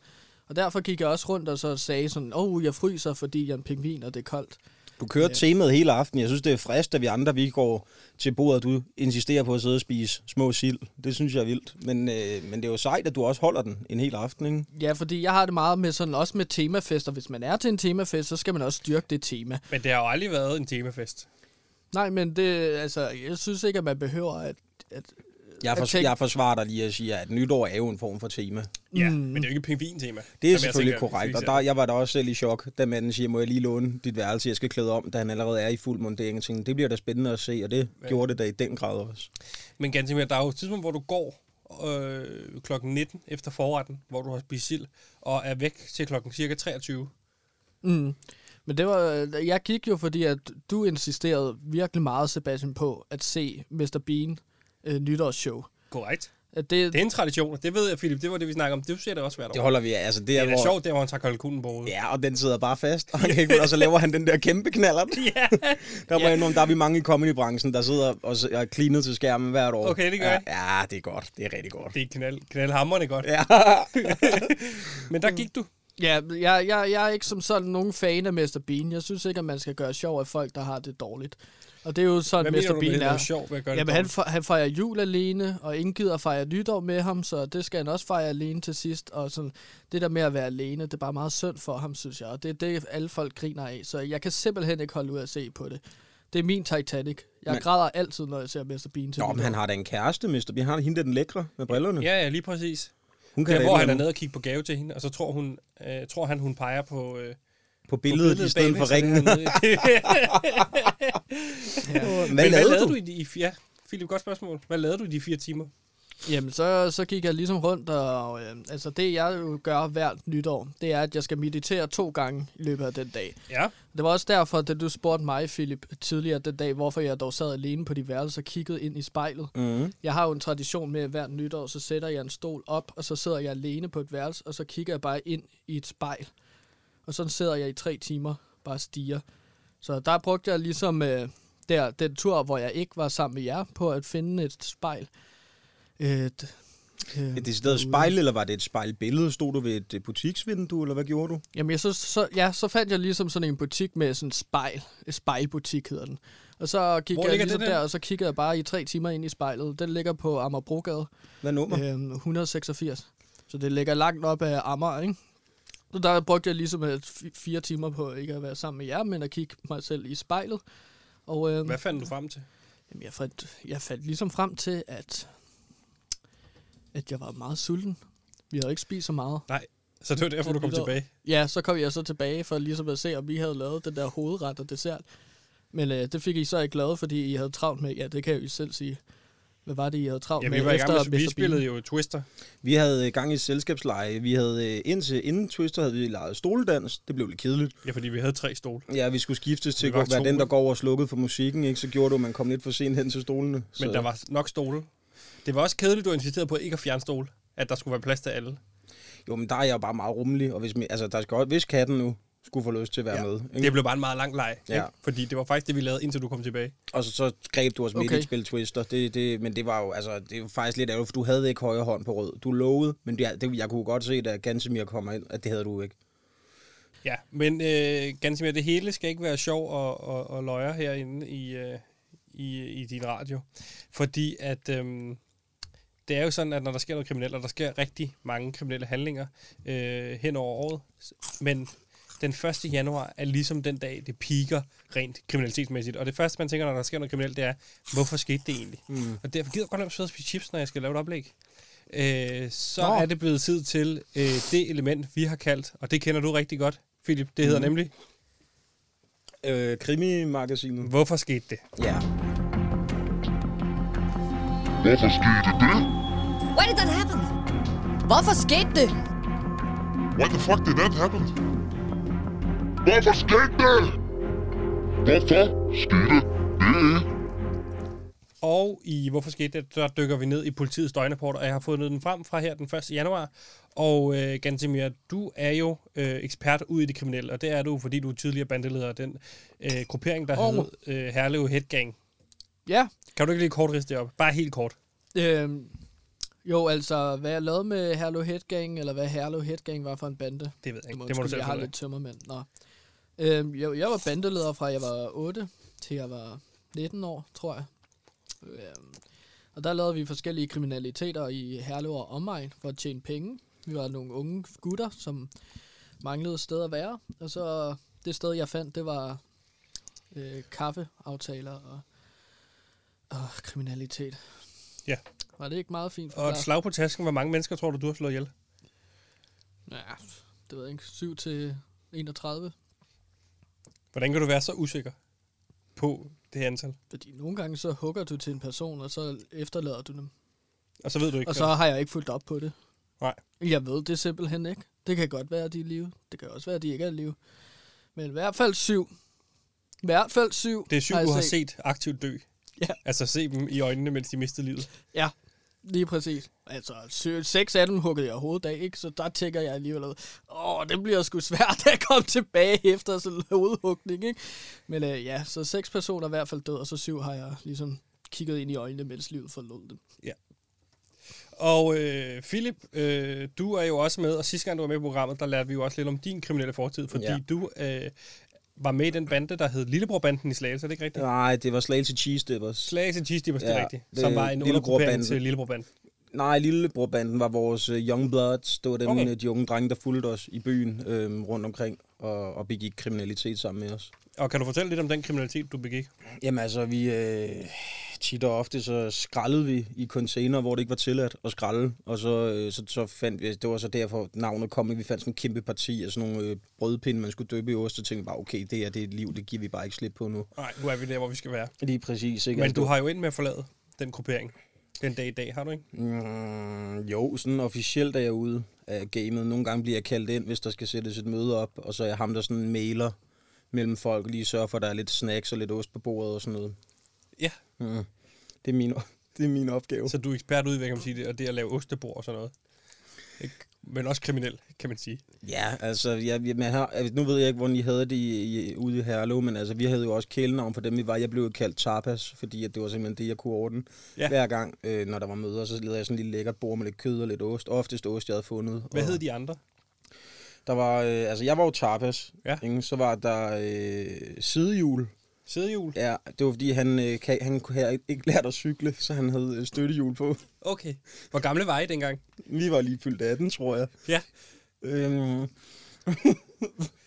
[SPEAKER 2] Og derfor gik jeg også rundt og så sagde sådan, åh, oh, jeg fryser, fordi jeg er en pingvin, og det er koldt.
[SPEAKER 3] Du kører ja. temaet hele aftenen. Jeg synes, det er frist, at vi andre vi går til bordet, og du insisterer på at sidde og spise små sild. Det synes jeg er vildt. Men, øh, men det er jo sejt, at du også holder den en hel aften, ikke?
[SPEAKER 2] Ja, fordi jeg har det meget med sådan, også med temafester. Hvis man er til en temafest, så skal man også styrke det tema.
[SPEAKER 1] Men det har jo aldrig været en temafest.
[SPEAKER 2] Nej, men det, altså, jeg synes ikke, at man behøver at... at
[SPEAKER 3] Jeg, fors-
[SPEAKER 2] tænk-
[SPEAKER 3] jeg forsvarer dig lige at sige, at nytår er jo en form for tema.
[SPEAKER 1] Ja, mm. men det er jo ikke et pingvin-tema.
[SPEAKER 3] Det er
[SPEAKER 1] som jeg
[SPEAKER 3] selvfølgelig
[SPEAKER 1] tænker,
[SPEAKER 3] korrekt,
[SPEAKER 1] vi
[SPEAKER 3] og
[SPEAKER 1] ser.
[SPEAKER 3] der, jeg var da også selv i chok, da manden siger, må jeg lige låne dit værelse, jeg skal klæde om, da han allerede er i fuld mundering. Jeg tænkte, det bliver da spændende at se, og det ja. gjorde det da i den grad også.
[SPEAKER 1] Men ganske mere, der er jo et tidspunkt, hvor du går øh, klokken 19 efter forretten, hvor du har spist sild, og er væk til klokken cirka 23.
[SPEAKER 2] Mm. Men det var, øh, jeg gik jo, fordi at du insisterede virkelig meget, Sebastian, på at se Mr. Bean øh, nytårsshow.
[SPEAKER 1] Korrekt.
[SPEAKER 2] At det,
[SPEAKER 1] Det er en tradition, og det ved jeg, Philip, det var det, vi snakker om. Det ser det også hvert år.
[SPEAKER 3] Det holder vi af. Altså, det
[SPEAKER 1] det
[SPEAKER 3] er,
[SPEAKER 1] er da
[SPEAKER 3] hvor...
[SPEAKER 1] sjovt, der hvor han tager kalkunen på hovedet.
[SPEAKER 3] Ja, og den sidder bare fast, og, han kan ikke, og så laver han den der kæmpe knaller.
[SPEAKER 1] Ja.
[SPEAKER 3] Der, må yeah. der er vi mange i comedybranchen, der sidder og s- og er cleanet til skærmen hvert år.
[SPEAKER 1] Okay, det gør
[SPEAKER 3] ja,
[SPEAKER 1] jeg.
[SPEAKER 3] Ja, det er godt. Det er rigtig godt.
[SPEAKER 1] Det er knald, knaldhammerne godt.
[SPEAKER 3] Ja.
[SPEAKER 1] Men der gik du.
[SPEAKER 2] ja, jeg, jeg, jeg er ikke som sådan nogen fan af Mr. Bean. Jeg synes ikke, at man skal gøre sjov af folk, der har det dårligt. Og det er jo
[SPEAKER 1] Hvad
[SPEAKER 2] sådan,
[SPEAKER 1] mener
[SPEAKER 2] Mr.
[SPEAKER 1] du,
[SPEAKER 2] Bean
[SPEAKER 1] det er
[SPEAKER 2] er.
[SPEAKER 1] sjovt ved at gøre det?
[SPEAKER 2] Jamen, han,
[SPEAKER 1] dårligt?
[SPEAKER 2] fe- han fejrer jul alene, og ingen gider fejre nytår med ham, så det skal han også fejre alene til sidst. Og sådan, det der med at være alene, det er bare meget synd for ham, synes jeg. Og det er det, alle folk griner af, så jeg kan simpelthen ikke holde ud at se på det. Det er min Titanic. Jeg
[SPEAKER 3] Men-
[SPEAKER 2] men... græder altid, når jeg ser Mr. Bean til
[SPEAKER 3] Nå, men
[SPEAKER 2] nytår.
[SPEAKER 3] han har da en kæreste, Mr. Bean. Han har hende der den lækre med brillerne.
[SPEAKER 1] Ja, ja, lige præcis.
[SPEAKER 3] Hun kan
[SPEAKER 1] Der,
[SPEAKER 3] da
[SPEAKER 1] hvor
[SPEAKER 3] et
[SPEAKER 1] han
[SPEAKER 3] eller
[SPEAKER 1] er
[SPEAKER 3] andet
[SPEAKER 1] nede og kigge på gave til hende, og så tror, hun, øh, tror han, hun peger på, øh,
[SPEAKER 3] på
[SPEAKER 1] på
[SPEAKER 3] billedet, i stedet
[SPEAKER 1] bagved,
[SPEAKER 3] for
[SPEAKER 1] så det er
[SPEAKER 3] ringen.
[SPEAKER 1] hernede.
[SPEAKER 3] Hvad
[SPEAKER 1] Men hvad
[SPEAKER 3] lavede
[SPEAKER 1] lavede
[SPEAKER 3] du?
[SPEAKER 1] du i de... i- Ja, Philip, godt spørgsmål. Hvad lavede du i de fire timer?
[SPEAKER 2] Jamen, så, så gik jeg ligesom rundt, og øh, altså, det jeg jo gør hvert nytår, det er, at jeg skal meditere to gange i løbet af den dag.
[SPEAKER 1] Ja.
[SPEAKER 2] Det var også derfor, da du spurgte mig, Philip, tidligere den dag, hvorfor jeg dog sad alene på de værelser og kiggede ind i spejlet.
[SPEAKER 3] Mm.
[SPEAKER 2] Jeg har jo en tradition med, at hvert nytår, så sætter jeg en stol op, og så sidder jeg alene på et værelse, og så kigger jeg bare ind i et spejl. Og sådan sidder jeg i tre timer, bare stiger. Så der brugte jeg ligesom øh, der, den tur, hvor jeg ikke var sammen med jer, på at finde et øh, spejl. Et,
[SPEAKER 3] Et decideret spejl, eller var det et spejlbillede? Stod du ved et øh, butiksvindue, eller hvad gjorde du?
[SPEAKER 2] Jamen, jeg så, så, ja, så fandt jeg ligesom sådan en butik med sådan en spejl. Et spejlbutik hedder den. Og så gik
[SPEAKER 1] Hvor
[SPEAKER 2] jeg
[SPEAKER 1] ligger
[SPEAKER 2] ligesom
[SPEAKER 1] den henne?
[SPEAKER 2] der, og så kiggede jeg bare i tre timer ind i spejlet. Den ligger på Amagerbrogade,
[SPEAKER 3] Hvad nummer? Ja.
[SPEAKER 2] øhm, 186. Så det ligger langt op af Amager, ikke? Så der brugte jeg ligesom øh, fi- fire timer på ikke at være sammen med jer, men at kigge mig selv i spejlet. Og, øhm,
[SPEAKER 1] Hvad fandt du frem til?
[SPEAKER 2] Jamen, jeg, fandt, jeg fandt ligesom frem til, at, at jeg var meget sulten. Vi havde ikke spist så meget.
[SPEAKER 1] Nej, så det var derfor, du kom tilbage.
[SPEAKER 2] Ja, så kom jeg så tilbage for ligesom at se, om vi havde lavet den der hovedret og dessert. Men øh, det fik I så ikke lavet, fordi I havde travlt med... Ja, det kan jeg jo selv sige. Hvad var det, I havde travlt
[SPEAKER 1] Ja,
[SPEAKER 2] med?
[SPEAKER 1] vi var i gang
[SPEAKER 2] efter
[SPEAKER 1] med, vi
[SPEAKER 2] Mr.
[SPEAKER 1] spillede
[SPEAKER 2] Bean?
[SPEAKER 1] jo Twister.
[SPEAKER 3] Vi havde øh, gang i et selskabsleje. Vi havde øh, indtil inden Twister havde vi lejet stoledans. Det blev lidt kedeligt.
[SPEAKER 1] Ja, fordi vi havde tre stole.
[SPEAKER 3] Ja, vi skulle skiftes til
[SPEAKER 1] Vi var
[SPEAKER 3] at være
[SPEAKER 1] to,
[SPEAKER 3] den, der
[SPEAKER 1] ikke?
[SPEAKER 3] går over og slukkede for musikken, ikke? Så gjorde du, at man kom lidt for sent hen til stolene.
[SPEAKER 1] Men der var nok stole. Det var også kedeligt, du insisterede på ikke at fjerne stole. At der skulle være plads til alle.
[SPEAKER 3] Mm. Jo, men der er jeg jo bare meget rummelig, og hvis, mi- altså, der skal, også- hvis katten nu skulle få lyst til at være ja. med, ikke?
[SPEAKER 1] Det blev bare en meget lang leg.
[SPEAKER 3] Ja.
[SPEAKER 1] Ja. Ikke? Fordi det var faktisk det, vi lavede, indtil du kom tilbage.
[SPEAKER 3] og så, så greb du os midt okay. i
[SPEAKER 2] Okay.
[SPEAKER 3] et spil Twister, det, det, men det var jo altså, det var faktisk lidt ærgerligt, for du havde ikke højre hånd på rød. Du lovede, men det, det, jeg kunne godt se, da Gansimir kommer ind, at det havde du ikke.
[SPEAKER 1] Ja, men øh, ganske mere, det hele skal ikke være sjov og, og, og løjer herinde i, øh, i, i din radio. Fordi at øh, det er jo sådan, at når der sker noget kriminelt, og der sker rigtig mange kriminelle handlinger øh, hen over året, s- men den 1. januar er ligesom den dag, det piker rent kriminalitetsmæssigt. Og det første, man tænker, når der sker noget kriminelt, det er, hvorfor skete det egentlig? Mm. Og derfor gider jeg godt lade mig sidde og spise chips, når jeg skal lave et oplæg. Øh, så
[SPEAKER 2] Nå.
[SPEAKER 1] Nå. er det blevet tid til øh, det element, vi har kaldt, og det kender du rigtig godt, Philip. Det
[SPEAKER 2] Mhm.
[SPEAKER 1] hedder mm. nemlig,
[SPEAKER 3] Øh, Krimi-magasinet.
[SPEAKER 1] hvorfor skete det?
[SPEAKER 3] Ja.
[SPEAKER 5] Hvorfor skete det?
[SPEAKER 6] Why did that happen? Hvorfor skete det?
[SPEAKER 5] Why the fuck did that happen? Hvorfor skete det? Hvorfor skete det?
[SPEAKER 1] Og i Hvorfor skete det, der dykker vi ned i politiets døgnrapport, og jeg har fundet den frem fra her den 1. januar. Og øh, Gansimir, du er jo øh, ekspert ud i det kriminelle, og det er du, fordi du er tidligere bandeleder af den øh, gruppering, der
[SPEAKER 2] Og-
[SPEAKER 1] oh. hed øh, Herlev Headgang.
[SPEAKER 2] Ja,
[SPEAKER 1] Kan du ikke lige kort riste det op? Bare helt kort.
[SPEAKER 2] øhm, jo, altså, hvad jeg lavede med Herlev Headgang, eller hvad Herlev Headgang var for en bande.
[SPEAKER 1] Det ved jeg
[SPEAKER 2] Du
[SPEAKER 1] ikke.
[SPEAKER 2] må
[SPEAKER 1] Det må du
[SPEAKER 2] undskylde,
[SPEAKER 1] selv
[SPEAKER 2] Jeg har
[SPEAKER 1] finde ud af.
[SPEAKER 2] lidt tømmermænd. Nå. Øhm, jeg, jeg var bandeleder fra jeg var 8 til jeg var 19 år, tror jeg. Øhm, og der lavede vi forskellige kriminaliteter i Herlev og omegn for at tjene penge. Vi var nogle unge gutter, som manglede et sted at være. Og så det sted, jeg fandt, det var øh, kaffeaftaler og, og kriminalitet.
[SPEAKER 1] Ja.
[SPEAKER 2] Var det ikke meget fint?
[SPEAKER 1] Og et
[SPEAKER 2] forklaret?
[SPEAKER 1] slag på tasken. Hvor mange mennesker tror du, du har slået ihjel?
[SPEAKER 2] Ja, det ved jeg ikke. 7 til 31.
[SPEAKER 1] Hvordan kan du være så usikker på det her antal?
[SPEAKER 2] Fordi nogle gange så hugger du til en person, og så efterlader du dem.
[SPEAKER 1] Og så ved du ikke.
[SPEAKER 2] Og så har jeg ikke fulgt op på det.
[SPEAKER 1] Nej.
[SPEAKER 2] Jeg ved det simpelthen ikke. Det kan godt være, at de er i live. Det kan også være, at de ikke er i live. Men i hvert fald syv. I hvert fald syv.
[SPEAKER 1] Det er syv,
[SPEAKER 2] jeg
[SPEAKER 1] du har set aktivt dø.
[SPEAKER 2] Ja.
[SPEAKER 1] Altså se dem i øjnene, mens de mistede livet.
[SPEAKER 2] Ja, lige præcis. Altså, syv, seks af dem huggede jeg hovedet af, ikke? Så der tænker jeg alligevel, åh, det bliver sgu svært at komme tilbage efter sådan en hovedhugning, ikke? Men øh, ja, så seks personer i hvert fald død, og så syv har jeg ligesom kigget ind i øjnene, mens livet forlod dem.
[SPEAKER 1] Og øh, Philip, øh, du er jo også med, og sidste gang du var med i programmet, der lærte vi jo også lidt om din kriminelle fortid, fordi
[SPEAKER 3] Ja.
[SPEAKER 1] ja. du øh, var med i den bande, der hed Lillebrorbanden i Slagelse, er det ikke rigtigt? Ja.
[SPEAKER 3] Nej, det var Slagelse Cheese Dippers.
[SPEAKER 1] Slagelse Cheese Dippers, ja, det
[SPEAKER 3] Ja,
[SPEAKER 1] er rigtigt,
[SPEAKER 3] det
[SPEAKER 1] som
[SPEAKER 3] er
[SPEAKER 1] var en
[SPEAKER 3] Lillebror
[SPEAKER 1] undergruppering
[SPEAKER 3] Banden.
[SPEAKER 1] til Lillebrorbanden.
[SPEAKER 3] Nej, Lillebrorbanden var vores øh, Young Bloods. Det var dem,
[SPEAKER 1] Okay.
[SPEAKER 3] okay. de unge drenge, der fulgte os i byen øhm, rundt omkring og, og begik kriminalitet sammen med os.
[SPEAKER 1] Og kan du fortælle lidt om den kriminalitet, du begik?
[SPEAKER 3] Jamen altså, vi øh, tit og ofte så skraldede vi i container, hvor det ikke var tilladt at skralde. Og så, øh, så, så fandt vi, det var så derfor navnet kom, ikke? vi fandt sådan en kæmpe parti af sådan nogle øh, brødpinde, man skulle døbe i ost, og tænkte vi bare, okay, det her det er et liv, det giver vi bare ikke slip på nu.
[SPEAKER 1] Nej, nu er vi der, hvor vi skal være.
[SPEAKER 3] Lige præcis, ikke?
[SPEAKER 1] Men
[SPEAKER 3] Altså,
[SPEAKER 1] du har jo ind med at forlade den gruppering den dag i dag, har du ikke?
[SPEAKER 3] Mm, jo, sådan officielt er jeg ude af gamet. Nogle gange bliver jeg kaldt ind, hvis der skal sættes et møde op, og så er jeg ham, der sådan mailer mellem folk, lige sørger for, at der er lidt snacks og lidt ost på bordet og sådan noget.
[SPEAKER 1] Ja,
[SPEAKER 3] Mm. Det, er min, det er min opgave.
[SPEAKER 1] så du er ekspert ud, hvad kan man sige det, og det at lave ostebord og sådan noget. Ikke? Men også kriminel, kan man sige.
[SPEAKER 3] Ja, altså, ja, vi- man har, altså, nu ved jeg ikke, hvordan I havde det i, i, ude i Herlev, men altså, vi havde jo også kælenavn for dem, vi var. Jeg blev jo kaldt tapas, fordi at det var simpelthen det, jeg kunne ordne
[SPEAKER 1] Ja.
[SPEAKER 3] ja. hver gang, øh, når der var møder. Så lavede jeg sådan en lille lækkert bord med lidt kød og lidt ost. Oftest ost, jeg havde fundet.
[SPEAKER 1] Hvad
[SPEAKER 3] og
[SPEAKER 1] hed de andre?
[SPEAKER 3] Der var, øh, altså, jeg var jo tapas.
[SPEAKER 1] Ja.
[SPEAKER 3] Ikke? Så var der øh, sidehjul.
[SPEAKER 1] Sædehjul?
[SPEAKER 3] Ja, det var fordi, han, øh, kan, han kunne have ikke lært at cykle, så han havde øh, støttehjul på.
[SPEAKER 1] Okay. Hvor gamle var I dengang?
[SPEAKER 3] Vi var lige fyldt 18, tror jeg.
[SPEAKER 1] Ja.
[SPEAKER 3] Øhm,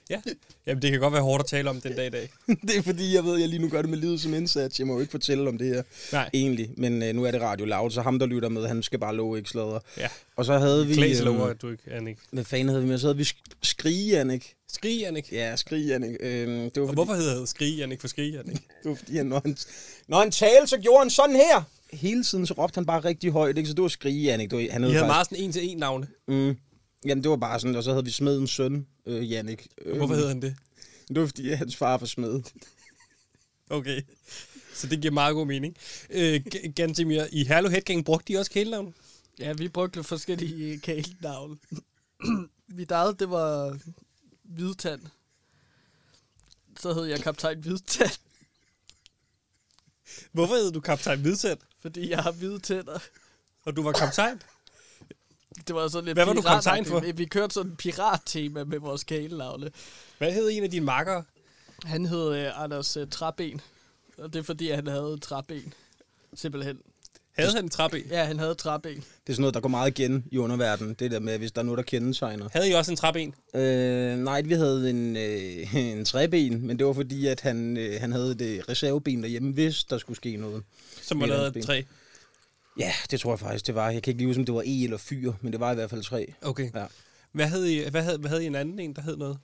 [SPEAKER 1] ja. Jamen, det kan godt være hårdt at tale om den dag i dag.
[SPEAKER 3] det er fordi, jeg ved, at jeg lige nu gør det med livet som indsats. Jeg må jo ikke fortælle om det her
[SPEAKER 1] Nej.
[SPEAKER 3] egentlig. Men øh, nu er det Radio Loud, så ham, der lytter med, han skal bare love ikke sladder.
[SPEAKER 1] Ja.
[SPEAKER 3] Og så havde vi...
[SPEAKER 1] Klaas
[SPEAKER 3] øhm,
[SPEAKER 1] lover, at du ikke, Annik.
[SPEAKER 3] Hvad fanden havde vi med? Så havde vi sk- Skrige, Annik.
[SPEAKER 1] Skrig, Annik.
[SPEAKER 3] Ja, Skrige, Annik. Øhm, det var
[SPEAKER 1] Og
[SPEAKER 3] fordi,
[SPEAKER 1] hvorfor hedder det Skrig, Annik for Skrig, Annik?
[SPEAKER 3] Det var fordi, han, når, han, når han talte, så gjorde han sådan her. Hele tiden så råbte han bare rigtig højt, ikke? så det var skrige, Annik. Det var, han
[SPEAKER 1] I havde
[SPEAKER 3] faktisk-
[SPEAKER 1] meget sådan en-til-en navne.
[SPEAKER 3] Mm, jamen, det var bare sådan, og så havde vi smedens søn, øh, Jannik. Øh,
[SPEAKER 1] Hvorfor hedder han det?
[SPEAKER 3] Det var fordi, hans far var smed.
[SPEAKER 1] Okay. Så det giver meget god mening. Øh, G- Gantemir, i Herlev Headgang brugte de også kælenavn?
[SPEAKER 2] Ja, vi brugte lidt forskellige øh, kælenavne. Mit eget, det var Hvidtand. Så hed jeg kaptajn Hvidtand,
[SPEAKER 1] Hvorfor hed du kaptajn Hvidsæt,
[SPEAKER 2] fordi jeg har hvide tænder.
[SPEAKER 1] og du var kaptajn?
[SPEAKER 2] Det var sådan lidt
[SPEAKER 1] Hvad var du kaptajn
[SPEAKER 2] piratagtigt. Vi kørte sådan en pirattema med vores kælenavne.
[SPEAKER 1] Hvad hed en af dine makkere?
[SPEAKER 2] Han hed øh, Anders øh, Træben, og det er fordi, han havde et træben. Simpelthen.
[SPEAKER 1] Havde han en trappe?
[SPEAKER 2] Ja, han havde et træben.
[SPEAKER 3] Det er sådan noget, der går meget igen i underverdenen. Det der med, hvis der er noget, der kendetegner.
[SPEAKER 1] Havde I også en trappe en?
[SPEAKER 3] Øh, nej, vi havde en, øh, en træben, men det var fordi, at han, øh, han havde det reserveben derhjemme, hvis der skulle ske noget.
[SPEAKER 1] Som var
[SPEAKER 3] Det er
[SPEAKER 1] lavet
[SPEAKER 3] hans
[SPEAKER 1] af
[SPEAKER 3] ben.
[SPEAKER 1] træ.
[SPEAKER 3] Ja, det tror jeg faktisk, det var. Jeg kan ikke lige huske, om det var E eller fyr, men det var i hvert fald tre.
[SPEAKER 1] Okay.
[SPEAKER 3] Ja.
[SPEAKER 1] Hvad havde, I, hvad, havde, hvad havde I en anden en, der hed noget?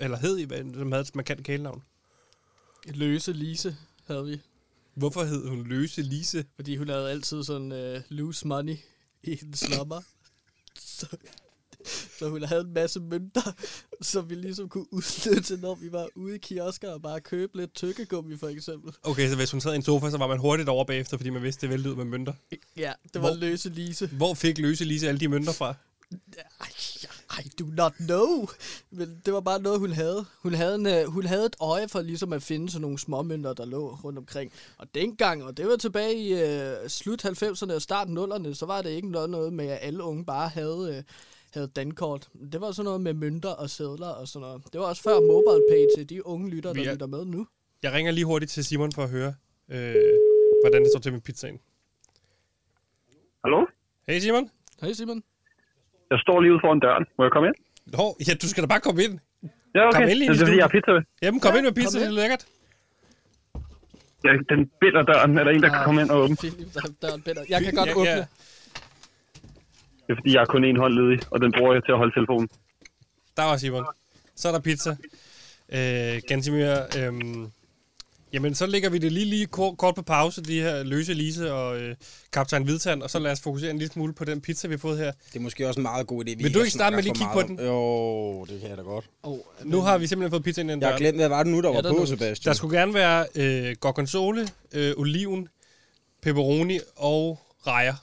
[SPEAKER 1] Eller hed I, hvad- som havde et markant kælenavn?
[SPEAKER 2] Løse Lise havde vi,
[SPEAKER 1] Hvorfor hed hun Løse Lise?
[SPEAKER 2] fordi hun havde altid sådan øh, loose money i hendes lommer. så, så hun havde en masse mønter, som vi ligesom kunne udnytte, når vi var ude i kiosker og bare købe lidt tykkegummi for eksempel.
[SPEAKER 1] Okay, så hvis hun sad i en sofa, så var man hurtigt over bagefter, fordi man vidste, det væltede ud med mønter.
[SPEAKER 2] Ja, det var
[SPEAKER 1] Hvor-
[SPEAKER 2] Løse Lise.
[SPEAKER 1] Hvor fik Løse Lise alle de mønter fra?
[SPEAKER 2] Ej, I do not know. Men det var bare noget, hun havde. Hun havde, en, øh, hun havde et øje for ligesom at finde sådan nogle småmønter, der lå rundt omkring. Og dengang, og det var tilbage i øh, slut 90'erne og start 0'erne, så var det ikke noget, noget med, at alle unge bare havde, øh, havde dankort. Det var sådan noget med mønter og sædler og sådan noget. Det var også før MobilePay til de unge lytter,
[SPEAKER 1] Vi
[SPEAKER 2] der
[SPEAKER 1] er-
[SPEAKER 2] lytter med nu.
[SPEAKER 1] Jeg ringer lige hurtigt til Simon for at høre, øh, hvordan det står til med pizzaen.
[SPEAKER 4] Hallo?
[SPEAKER 1] Hey Simon.
[SPEAKER 2] Hej Simon.
[SPEAKER 4] Jeg står lige ude foran døren. Må jeg komme ind?
[SPEAKER 1] Nå, ja, du skal da bare komme ind.
[SPEAKER 4] Ja, okay.
[SPEAKER 1] Kom ind lige
[SPEAKER 4] det
[SPEAKER 1] i
[SPEAKER 4] er fordi,
[SPEAKER 1] studiet.
[SPEAKER 4] jeg har pizza med.
[SPEAKER 1] Jamen, kom
[SPEAKER 2] Ja,
[SPEAKER 1] ja, ind med
[SPEAKER 2] kom
[SPEAKER 1] pizza, det er
[SPEAKER 2] ind.
[SPEAKER 1] lækkert.
[SPEAKER 4] Ja, den binder døren. Er der en, der
[SPEAKER 1] Ah.
[SPEAKER 4] kan komme ind og åbne?
[SPEAKER 2] Philip, der, der er en bedre. Jeg kan godt
[SPEAKER 1] Ja,
[SPEAKER 2] åbne.
[SPEAKER 1] ja.
[SPEAKER 4] Det er fordi, jeg har kun én hånd ledig, og den bruger jeg til at holde telefonen.
[SPEAKER 1] Der var Simon. Så er der pizza. Øh, Gantimir, øh, jamen så lægger vi det lige, lige kort, kort på pause, de her løse Lise og øh, kaptajn Hvidtand, og så lad os fokusere en lille smule på den pizza, vi har fået her.
[SPEAKER 3] Det er måske også en meget god idé. Vi
[SPEAKER 1] Vil du ikke starte med lige at kigge
[SPEAKER 3] Jo, det kan jeg da godt.
[SPEAKER 2] Oh,
[SPEAKER 1] Nu har vi simpelthen fået pizza ind i den
[SPEAKER 3] Jeg har
[SPEAKER 1] dør.
[SPEAKER 3] glemt, hvad var det nu, der
[SPEAKER 2] Ja,
[SPEAKER 3] var
[SPEAKER 2] der er
[SPEAKER 3] på,
[SPEAKER 2] noget.
[SPEAKER 3] Sebastian?
[SPEAKER 1] Der skulle gerne være øh, gorgonzole, øh, oliven, pepperoni og rejer.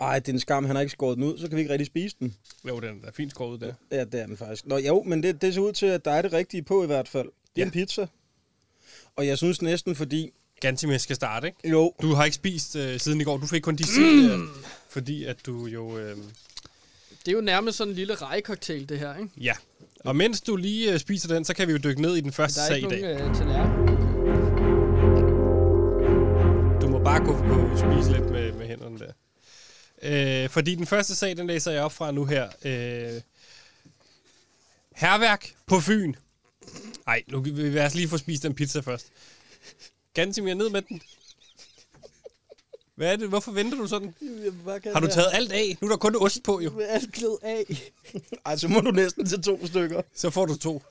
[SPEAKER 3] Ej, det er en skam, han har ikke skåret den ud, så kan vi ikke rigtig spise den.
[SPEAKER 1] Jo, den er fint skåret ud der.
[SPEAKER 3] Ja, det er den faktisk. Nå jo, men det, det ser ud til, at der er det rigtige på i hvert fald. Det er
[SPEAKER 1] Ja.
[SPEAKER 3] ja. en pizza. Og jeg synes næsten, fordi...
[SPEAKER 1] Gantimir skal starte, ikke?
[SPEAKER 3] Jo,
[SPEAKER 1] Du har ikke spist øh, siden i går. Du fik kun de sidste, mm. fordi at du jo... Øh,
[SPEAKER 2] Det er jo nærmest sådan en lille rejekoktail, det her, ikke?
[SPEAKER 1] ja. Og mens du lige øh, spiser den, så kan vi jo dykke ned i den første
[SPEAKER 2] Der er
[SPEAKER 1] sag i
[SPEAKER 2] ikke
[SPEAKER 1] dag.
[SPEAKER 2] nogen øh, tallerken.
[SPEAKER 1] Du må bare gå på spise lidt med, med hænderne der. Øh, fordi den første sag, den læser jeg op fra nu her. Øh, herværk på Fyn. Nej, nu vil vi lad os lige få spist den pizza først. Gantimir, ned med den. Hvad er det? Hvorfor venter du sådan? Har du taget alt af? Nu er der kun ost på, jo.
[SPEAKER 2] med alt klæd af?
[SPEAKER 3] ej, så må du næsten til to stykker.
[SPEAKER 1] Så får du to.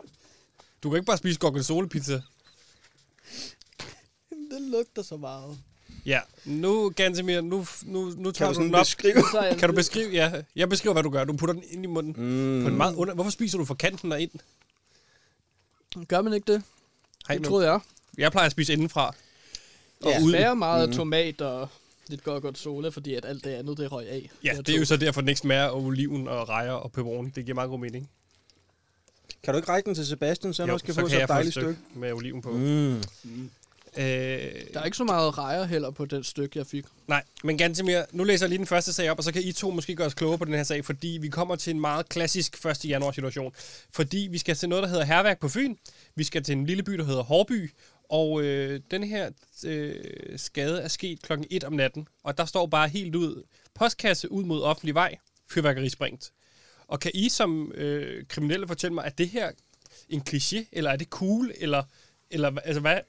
[SPEAKER 1] Du kan ikke bare spise gorgonzola-pizza.
[SPEAKER 2] Det lugter så meget.
[SPEAKER 1] Ja, nu, Gantemir, nu, nu, nu
[SPEAKER 3] Kan
[SPEAKER 1] tager
[SPEAKER 3] du
[SPEAKER 1] du den
[SPEAKER 3] sådan
[SPEAKER 1] op.
[SPEAKER 3] beskrive?
[SPEAKER 2] Så er jeg
[SPEAKER 1] Kan du beskrive? Ja, jeg beskriver, hvad du gør. Du putter den ind i munden. På en
[SPEAKER 3] Mm.
[SPEAKER 1] meget under... Hvorfor spiser du fra kanten og ind?
[SPEAKER 2] Gør man ikke det?
[SPEAKER 1] Hej,
[SPEAKER 2] det troede jeg.
[SPEAKER 1] jeg plejer at spise indenfra. Og Mhm.
[SPEAKER 3] Ja.
[SPEAKER 1] ud.
[SPEAKER 2] Bærer meget mm. tomat og lidt godt godt sola, fordi at alt det andet, det røg af.
[SPEAKER 1] Ja, det er jo så derfor, den ikke smager af oliven og rejer og pepperoni. Det giver meget god mening.
[SPEAKER 3] Kan du ikke række den til Sebastian, så han
[SPEAKER 1] Jo,
[SPEAKER 3] også kan få sig
[SPEAKER 1] jeg
[SPEAKER 3] et
[SPEAKER 1] få
[SPEAKER 3] dejligt stykke?
[SPEAKER 1] med oliven på. Mm.
[SPEAKER 3] Mm.
[SPEAKER 1] Øh,
[SPEAKER 2] Der er ikke så meget rejer heller på den stykke, jeg fik.
[SPEAKER 1] nej, men ganske mere. Nu læser jeg lige den første sag op, og så kan I to måske gøre os klogere på den her sag, fordi vi kommer til en meget klassisk 1. januar situation. Fordi vi skal til noget, der hedder Herværk på Fyn. Vi skal til en lille by, der hedder Hårby. Og øh, den her øh, skade er sket klokken 1 om natten, og der står bare helt ud. Postkasse ud mod offentlig vej, fyrværkeri sprængt. Og kan I som øh, kriminelle fortælle mig, er det her en kliché, eller er det cool, eller, eller hva- altså, hvad,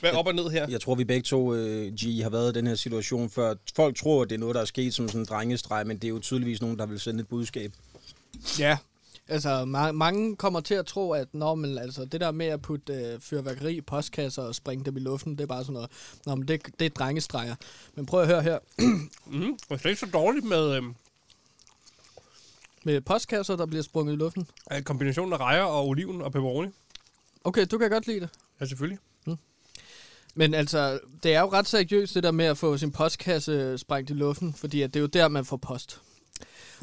[SPEAKER 1] hvad er op og ned her?
[SPEAKER 3] Jeg tror, vi begge to, øh, G, har været i den her situation før. Folk tror, at det er noget, der er sket som sådan en drengestreg, men det er jo tydeligvis nogen, der vil sende et budskab.
[SPEAKER 2] Ja. Altså, ma- mange kommer til at tro, at når man, altså, det der med at putte øh, fyrværkeri i postkasser og springe dem i luften, det er bare sådan noget, Nå, men det, det er drengestreger. Men prøv at høre her.
[SPEAKER 1] Mm, det er ikke så dårligt med øhm,
[SPEAKER 2] Med postkasser, der bliver sprunget i luften.
[SPEAKER 1] øh, kombinationen af rejer og oliven og pepperoni.
[SPEAKER 2] Okay, du kan godt lide det.
[SPEAKER 1] Ja, selvfølgelig.
[SPEAKER 2] Men altså, det er jo ret seriøst, det der med at få sin postkasse sprængt i luften, fordi at det er jo der, man får post.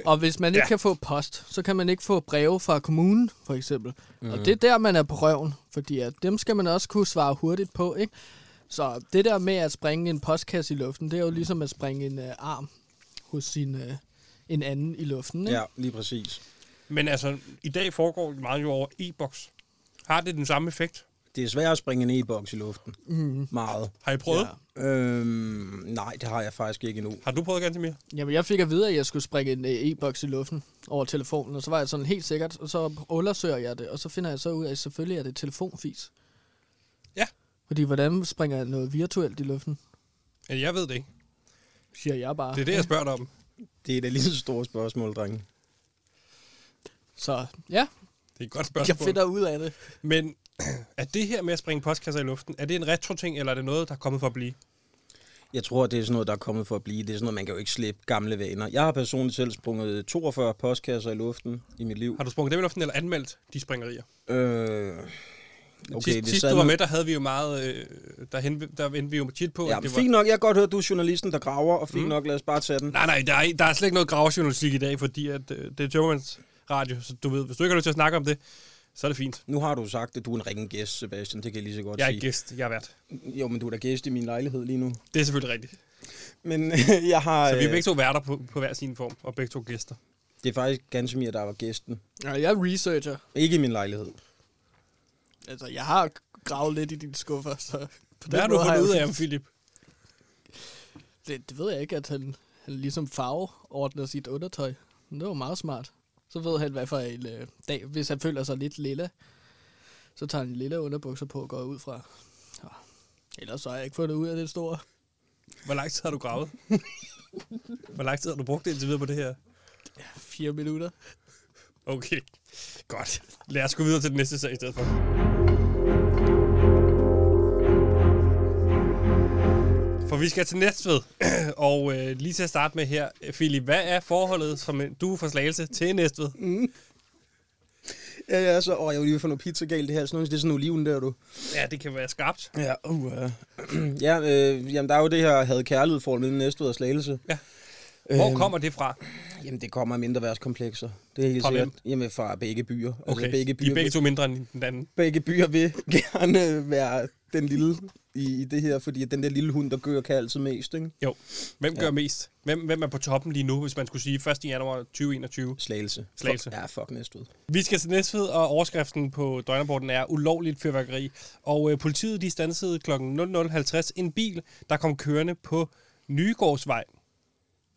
[SPEAKER 2] Og hvis man ikke
[SPEAKER 1] Ja.
[SPEAKER 2] kan få post, så kan man ikke få breve fra kommunen, for eksempel. Mm. Og det er der, man er på røven, fordi at dem skal man også kunne svare hurtigt på, ikke? Så det der med at springe en postkasse i luften, det er jo ligesom at springe en øh, arm hos sin, øh, en anden i luften, ikke?
[SPEAKER 3] Ja, lige præcis.
[SPEAKER 1] Men altså, i dag foregår det meget jo over e-boks. Har det den samme effekt?
[SPEAKER 3] Det er svært at springe en e-boks i luften.
[SPEAKER 2] Mhm.
[SPEAKER 3] Mm. Meget.
[SPEAKER 1] Har I prøvet? Ja.
[SPEAKER 2] Ja.
[SPEAKER 3] Øhm, nej, det har jeg faktisk ikke endnu.
[SPEAKER 1] Har du prøvet ganske mere?
[SPEAKER 2] Jamen, jeg fik at vide, at jeg skulle springe en øh, e-boks i luften over telefonen, og så var jeg sådan helt sikkert, og så undersøger jeg det, og så finder jeg så ud af, at selvfølgelig er det telefonfis.
[SPEAKER 1] Ja.
[SPEAKER 2] Fordi hvordan springer jeg noget virtuelt i luften,
[SPEAKER 1] Ja, jeg ved det ikke.
[SPEAKER 2] siger jeg bare.
[SPEAKER 1] Det er det, jeg spørger dig om.
[SPEAKER 3] Det er da lige så store spørgsmål, drenge.
[SPEAKER 2] Så ja,
[SPEAKER 1] Det er et godt
[SPEAKER 2] jeg
[SPEAKER 1] spørgsmål.
[SPEAKER 2] finder ud af det.
[SPEAKER 1] Men er det her med at springe postkasser i luften, er det en retro-ting, eller er det noget, der er kommet for at blive?
[SPEAKER 3] Jeg tror, det er sådan noget, der er kommet for at blive. Det er sådan noget, man kan jo ikke slippe gamle vaner. Jeg har personligt selv sprunget 42 postkasser i luften i mit liv.
[SPEAKER 1] Har du sprunget dem i luften, eller anmeldt de springerier?
[SPEAKER 3] Øh,
[SPEAKER 1] Okay, sidst,
[SPEAKER 3] det
[SPEAKER 1] sidst
[SPEAKER 3] sad
[SPEAKER 1] du var
[SPEAKER 3] nu-
[SPEAKER 1] med, der havde vi jo meget... Øh, der, hen, der endte vi jo tit på,
[SPEAKER 3] Ja,
[SPEAKER 1] at det var...
[SPEAKER 3] fint nok. Jeg kan godt høre, at du er journalisten, der graver, og fint mm. nok, lad os bare tage den.
[SPEAKER 1] Nej, nej, der er, der er slet ikke noget gravjournalistik i dag, fordi at, øh, det er Tømmermans radio, så du ved, hvis du ikke har lyst til at snakke om det, så er det fint.
[SPEAKER 3] Nu har du sagt, at du er en ringen gæst, Sebastian. Det kan jeg lige så godt
[SPEAKER 1] Jeg er
[SPEAKER 3] sige.
[SPEAKER 1] ikke gæst, jeg er vært.
[SPEAKER 3] Jo, men du er da gæst i min lejlighed lige nu.
[SPEAKER 1] Det er selvfølgelig rigtigt.
[SPEAKER 3] Men jeg har...
[SPEAKER 1] Så vi er
[SPEAKER 3] øh,
[SPEAKER 1] begge to værter på, på hver sin form, og begge to gæster.
[SPEAKER 3] Det er faktisk ganske mere, der var gæsten.
[SPEAKER 2] Ja, jeg er researcher.
[SPEAKER 3] Ikke i min lejlighed.
[SPEAKER 2] Altså, jeg har gravet lidt i dine skuffer, så... På
[SPEAKER 1] Hvad
[SPEAKER 2] den
[SPEAKER 1] har du
[SPEAKER 2] måde
[SPEAKER 1] fundet
[SPEAKER 2] jeg-
[SPEAKER 1] ud af om Philip?
[SPEAKER 2] Det, det ved jeg ikke, at han, han ligesom farveordner sit undertøj. Men det var meget smart. Så ved han, hvad for en øh, dag, hvis han føler sig lidt lilla, så tager han lilla underbukser på og går ud fra. Nå, Ellers så har jeg ikke fundet ud af det store.
[SPEAKER 1] Hvor lang tid har du gravet? Hvor lang tid har du brugt indtil videre på det her?
[SPEAKER 2] Fire minutter.
[SPEAKER 1] Okay, godt. Lad os gå videre til den næste sag i stedet for. For vi skal til Næstved, og øh, lige til at starte med her, Philip, hvad er forholdet, som en- du er fra Slagelse, til Næstved?
[SPEAKER 3] Mm. Ja, ja, så... Åh, jeg vil lige få noget pizza galt det her. Sådan noget, det er sådan oliven der, du.
[SPEAKER 1] Ja, det kan være skarpt.
[SPEAKER 3] Ja, uh, ja. ja øh, jamen, der er jo det her, havde kærlighed for mellem Næstved og Slagelse. Øhm,
[SPEAKER 1] Hvor kommer det fra?
[SPEAKER 3] altså, Jamen, det kommer af mindre værtskomplekser. Det er helt
[SPEAKER 1] Fra
[SPEAKER 3] sikkert.
[SPEAKER 1] hvem?
[SPEAKER 3] Jamen, fra begge byer.
[SPEAKER 1] Okay,
[SPEAKER 3] begge
[SPEAKER 1] de
[SPEAKER 3] byer,
[SPEAKER 1] er begge to mindre end den anden.
[SPEAKER 3] begge byer vil gerne være den lille i, i det her, fordi den der lille hund, der gør, kan altid mest, ikke?
[SPEAKER 1] Jo. Hvem gør mest? Hvem, hvem er på toppen lige nu, hvis man skulle sige 1. januar 2021?
[SPEAKER 3] Slagelse.
[SPEAKER 1] Slagelse.
[SPEAKER 3] Fuck, ja, fuck Næstved.
[SPEAKER 1] Vi skal til Næstved, og overskriften på døgnrapporten er ulovligt fyrværkeri. Og øh, politiet de stansede kl. 00.50 en bil, der kom kørende på Nygårdsvej.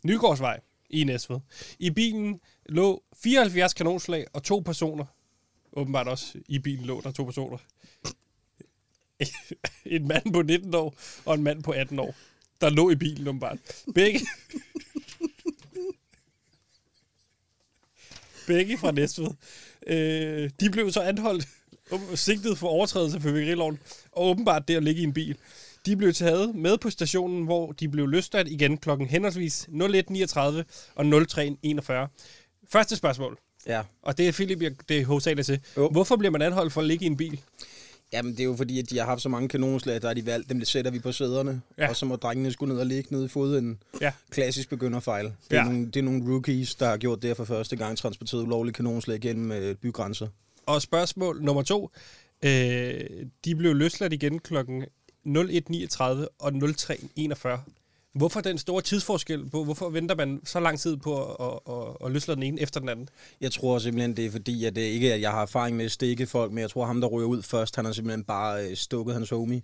[SPEAKER 1] Nygårdsvej i Næstved. I bilen lå 74 kanonslag og to personer. Åbenbart også i bilen lå der to personer. en mand på 19 år og en mand på 18 år, der lå i bilen åbenbart. Begge, begge fra Næstved. Øh, de blev så anholdt, åb- sigtet for overtrædelse af fyrværkeriloven, og åbenbart det at ligge i en bil. De blev taget med på stationen, hvor de blev løsladt igen klokken henholdsvis 01.39 og 03.41. Første spørgsmål,
[SPEAKER 3] Ja.
[SPEAKER 1] og det er Philip, jeg- det er hovedsageligt til.
[SPEAKER 3] Jo.
[SPEAKER 1] Hvorfor bliver man anholdt for at ligge i en bil?
[SPEAKER 3] Jamen, det er jo fordi, at de har haft så mange kanonslag, der har de valgt, dem sætter vi på sæderne,
[SPEAKER 1] Ja.
[SPEAKER 3] ja. og så må drengene skulle ned og ligge nede i foden.
[SPEAKER 1] Ja.
[SPEAKER 3] Klassisk begynderfejl. Det
[SPEAKER 1] Ja.
[SPEAKER 3] er, ja. nogle, det er nogle rookies, der har gjort det her for første gang, transporteret ulovlige kanonslag gennem øh, bygrænser.
[SPEAKER 1] Og spørgsmål nummer to. Øh, de blev løsladt igen klokken 01.39 og 03.41. Hvorfor den store tidsforskel? på- Hvorfor venter man så lang tid på at, at, at, at løslade den ene efter den anden?
[SPEAKER 3] Jeg tror simpelthen, det er fordi, at det ikke at jeg har erfaring med at stikke folk, men jeg tror, ham, der ryger ud først, han har simpelthen bare øh, stukket hans homie.